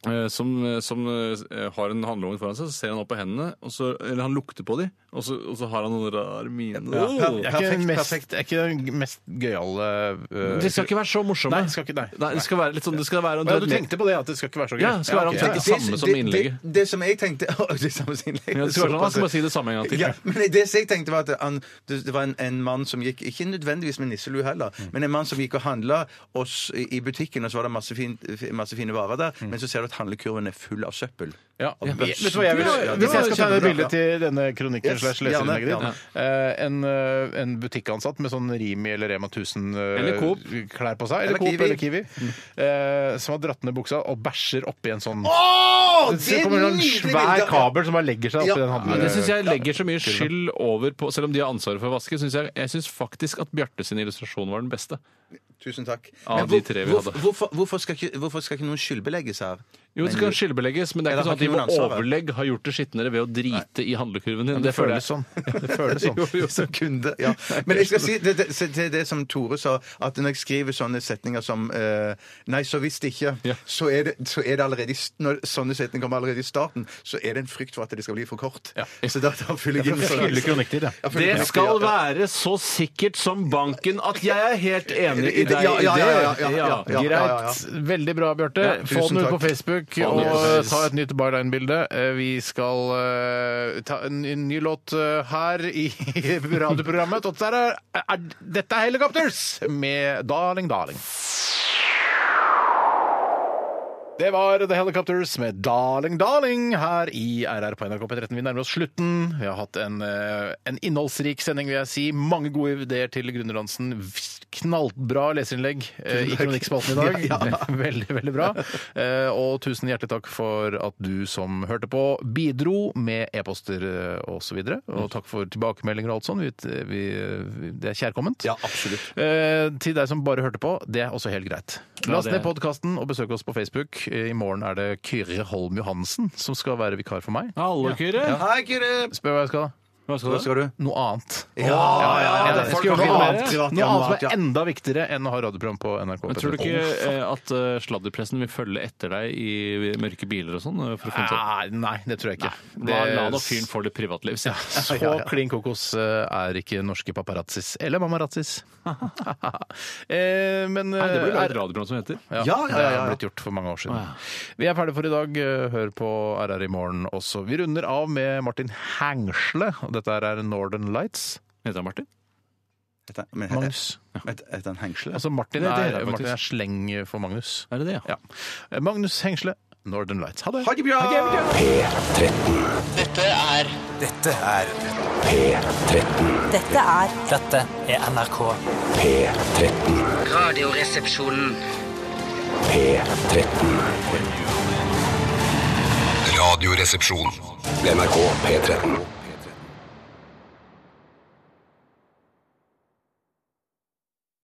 C: eh, Som, eh, som eh, har en handlevogn foran seg, så ser han opp på hendene, og så, eller han lukter på dem, og så, og så har han noen rar mine. Oh!
A: Jeg er
C: Åh!
A: ikke den
B: Perfekt,
A: mest,
B: perfekt.
A: jeg er ikke den mest gøyale eh,
C: De skal ikke være så morsomme.
A: Nei, det skal ikke- nei.
C: det skal være litt sånn, det skal være
A: Å ja, Du tenkte på det, at det skal ikke være så gøy?
C: Ja, det skal være
A: ok,
C: omtrent det samme som innlegget.
B: Det, det som jeg tenkte Å, det samme som innlegget.
C: Ja, det skal være sånn, Han skal bare si det samme en gang til.
B: Ja, men det som jeg tenkte var at han, det, det var en, en mann som gikk, ikke nødvendigvis med nisselue heller, men en mann som gikk og handla oss i i butikken, og så var det masse, fin, masse fine varer der, men så ser du at handlekurven er full av søppel.
A: Ja.
B: Og
A: Vet
B: bøss.
A: du hva jeg vil,
B: Ja, ja, det
A: hvis jeg skal
B: var
A: tegne et
B: kjempebra,
A: bilde til denne kronikken
B: Yes,
A: slash
B: gjerne,
A: leserinnlegget ditt eh, en, eh, en butikkansatt med sånn Rimi eller Rema 1000 eh,
C: Eller Coop.
A: klær på seg, eller
B: Eller
A: Coop
B: Kiwi.
A: eller Kiwi, eh, som har dratt ned buksa og bæsjer oppi en sånn
B: Å,
A: Så
B: det er
A: kommer det en sånn
B: nydelig
A: svær
B: bilde.
A: kabel som bare legger seg
B: Ja.
A: oppi den handle...
C: Men det syns jeg legger så mye skyld over på Selv om de har ansvaret for å vaske, syns jeg, jeg synes faktisk at Bjarte sin illustrasjon var den beste.
B: Tusen takk.
C: Av
B: Men
C: de tre vi
B: hvorfor-
C: hadde.
B: Hvorfor, hvorfor, skal ikke, hvorfor skal ikke noen skyldbelegges her?
C: Jo, det
B: Men
C: skal
B: du-
C: skillebelegges, men det er
B: Eller
C: ikke sånn at de
B: har
C: med
B: ikke noen ansvar,
C: overlegg har gjort det skitnere ved å drite i handlekurven din.
A: det, føles sånn. Det føles sånn.
C: Jo, jo.
B: Som kunde, ja. Men jeg skal si det, det, se- til det som Tore sa, at når jeg skriver sånne setninger som eh, Nei, så visst ikke,
C: Ja.
B: så, er det, så er det allerede i s- Når sånne setninger kommer allerede i starten, så er det en frykt for at det skal bli for kort. Så da, da fyller jeg inn med sånne-
A: Fylle kronikker, ja.
B: Ja, fyller
C: Det
B: kronikker,
C: skal
B: ja.
C: være så sikkert som banken at jeg er helt enig i deg.
B: Ja, ja, ja, ja, ja, ja, ja,
A: Greit.
B: ja, ja.
A: Veldig bra, Bjarte.
B: Ja,
A: Få
B: tusen
A: den ut
B: takk.
A: på Facebook
C: Få
A: og
C: den ut på
A: eh,
C: Facebook.
A: ta et nytt Byline-bilde. Eh, Vi skal eh, ta en, en ny låt eh, her i radioprogrammet. Og der er, er, dette er Helicopters med Darling Darling. Det var The Helicopters med Darling Darling her i RR på NRK P13. Vi nærmer oss slutten. Vi har hatt en, eh, en innholdsrik sending, vil jeg si. Mange gode ideer til Gründerdansen. Knallbra leserinnlegg eh, i kronikkspalten i dag. Veldig, veldig bra. Eh, Og tusen hjertelig takk for at du som hørte på, bidro med e-poster eh, og så videre. Og takk for tilbakemeldinger og alt sånn. Vi, vi, vi- det er kjærkomment.
B: Ja, absolutt.
A: Eh, til deg som bare hørte på, det er også helt greit. Last
C: det
A: ned
C: er-
A: podkasten og besøk oss på Facebook. Eh, I morgen er det Kyrre Holm Johansen som skal være vikar for meg.
C: Alle, Kyrre.
B: Hei, Kyrre!
A: Spør hva jeg skal.
C: Hva
B: Hva
C: skal du?
B: skal du?
A: Noe annet.
B: Ja, ja,
A: Ja,
C: det
A: jeg
C: folk
A: skal gjøre
C: kan
A: noe
C: være
A: annet,
B: privat,
A: noe
B: ja,
A: annet som
B: mat, ja.
A: er enda viktigere enn å ha radioprogram på NRK.
C: Men tror du ikke eh, at eh, sladderpressen vil følge etter deg i mørke biler og sånn? eh, for å finne ut av-
A: Nei, nei, det tror jeg ikke.
C: La, la nå
A: Ah, det,
C: fyren få litt privatliv. sier jeg.
A: så klin kokos eh, er ikke norske paparazzis. Eller mamarazzis. eh, men
C: Nei, det
A: eh,
C: blir bare et radioprogram som heter.
A: Ja,
B: Ja, ja, ja,
A: det
B: ja.
A: har blitt gjort for mange år siden. Vi er ferdige for i dag. Hør på RR i morgen også. Vi runder av med Martin Hengsle. og Dette her er Northern Lights.
C: Heter han Martin?
B: Heter men heter-
A: Magnus.
B: heter- heter han Hengsle?
A: Altså Martin
C: Det er
A: er,
C: det, faktisk.
A: Martin er sleng for Magnus.
C: Er det det,
A: Ja. Magnus Hengsle, Northern Lights. Ha det!
B: Ha det bra!
H: Dette er
I: Dette er
J: Dette er NRK.
H: Radioresepsjonen.
D: Radioresepsjon. NRK P13.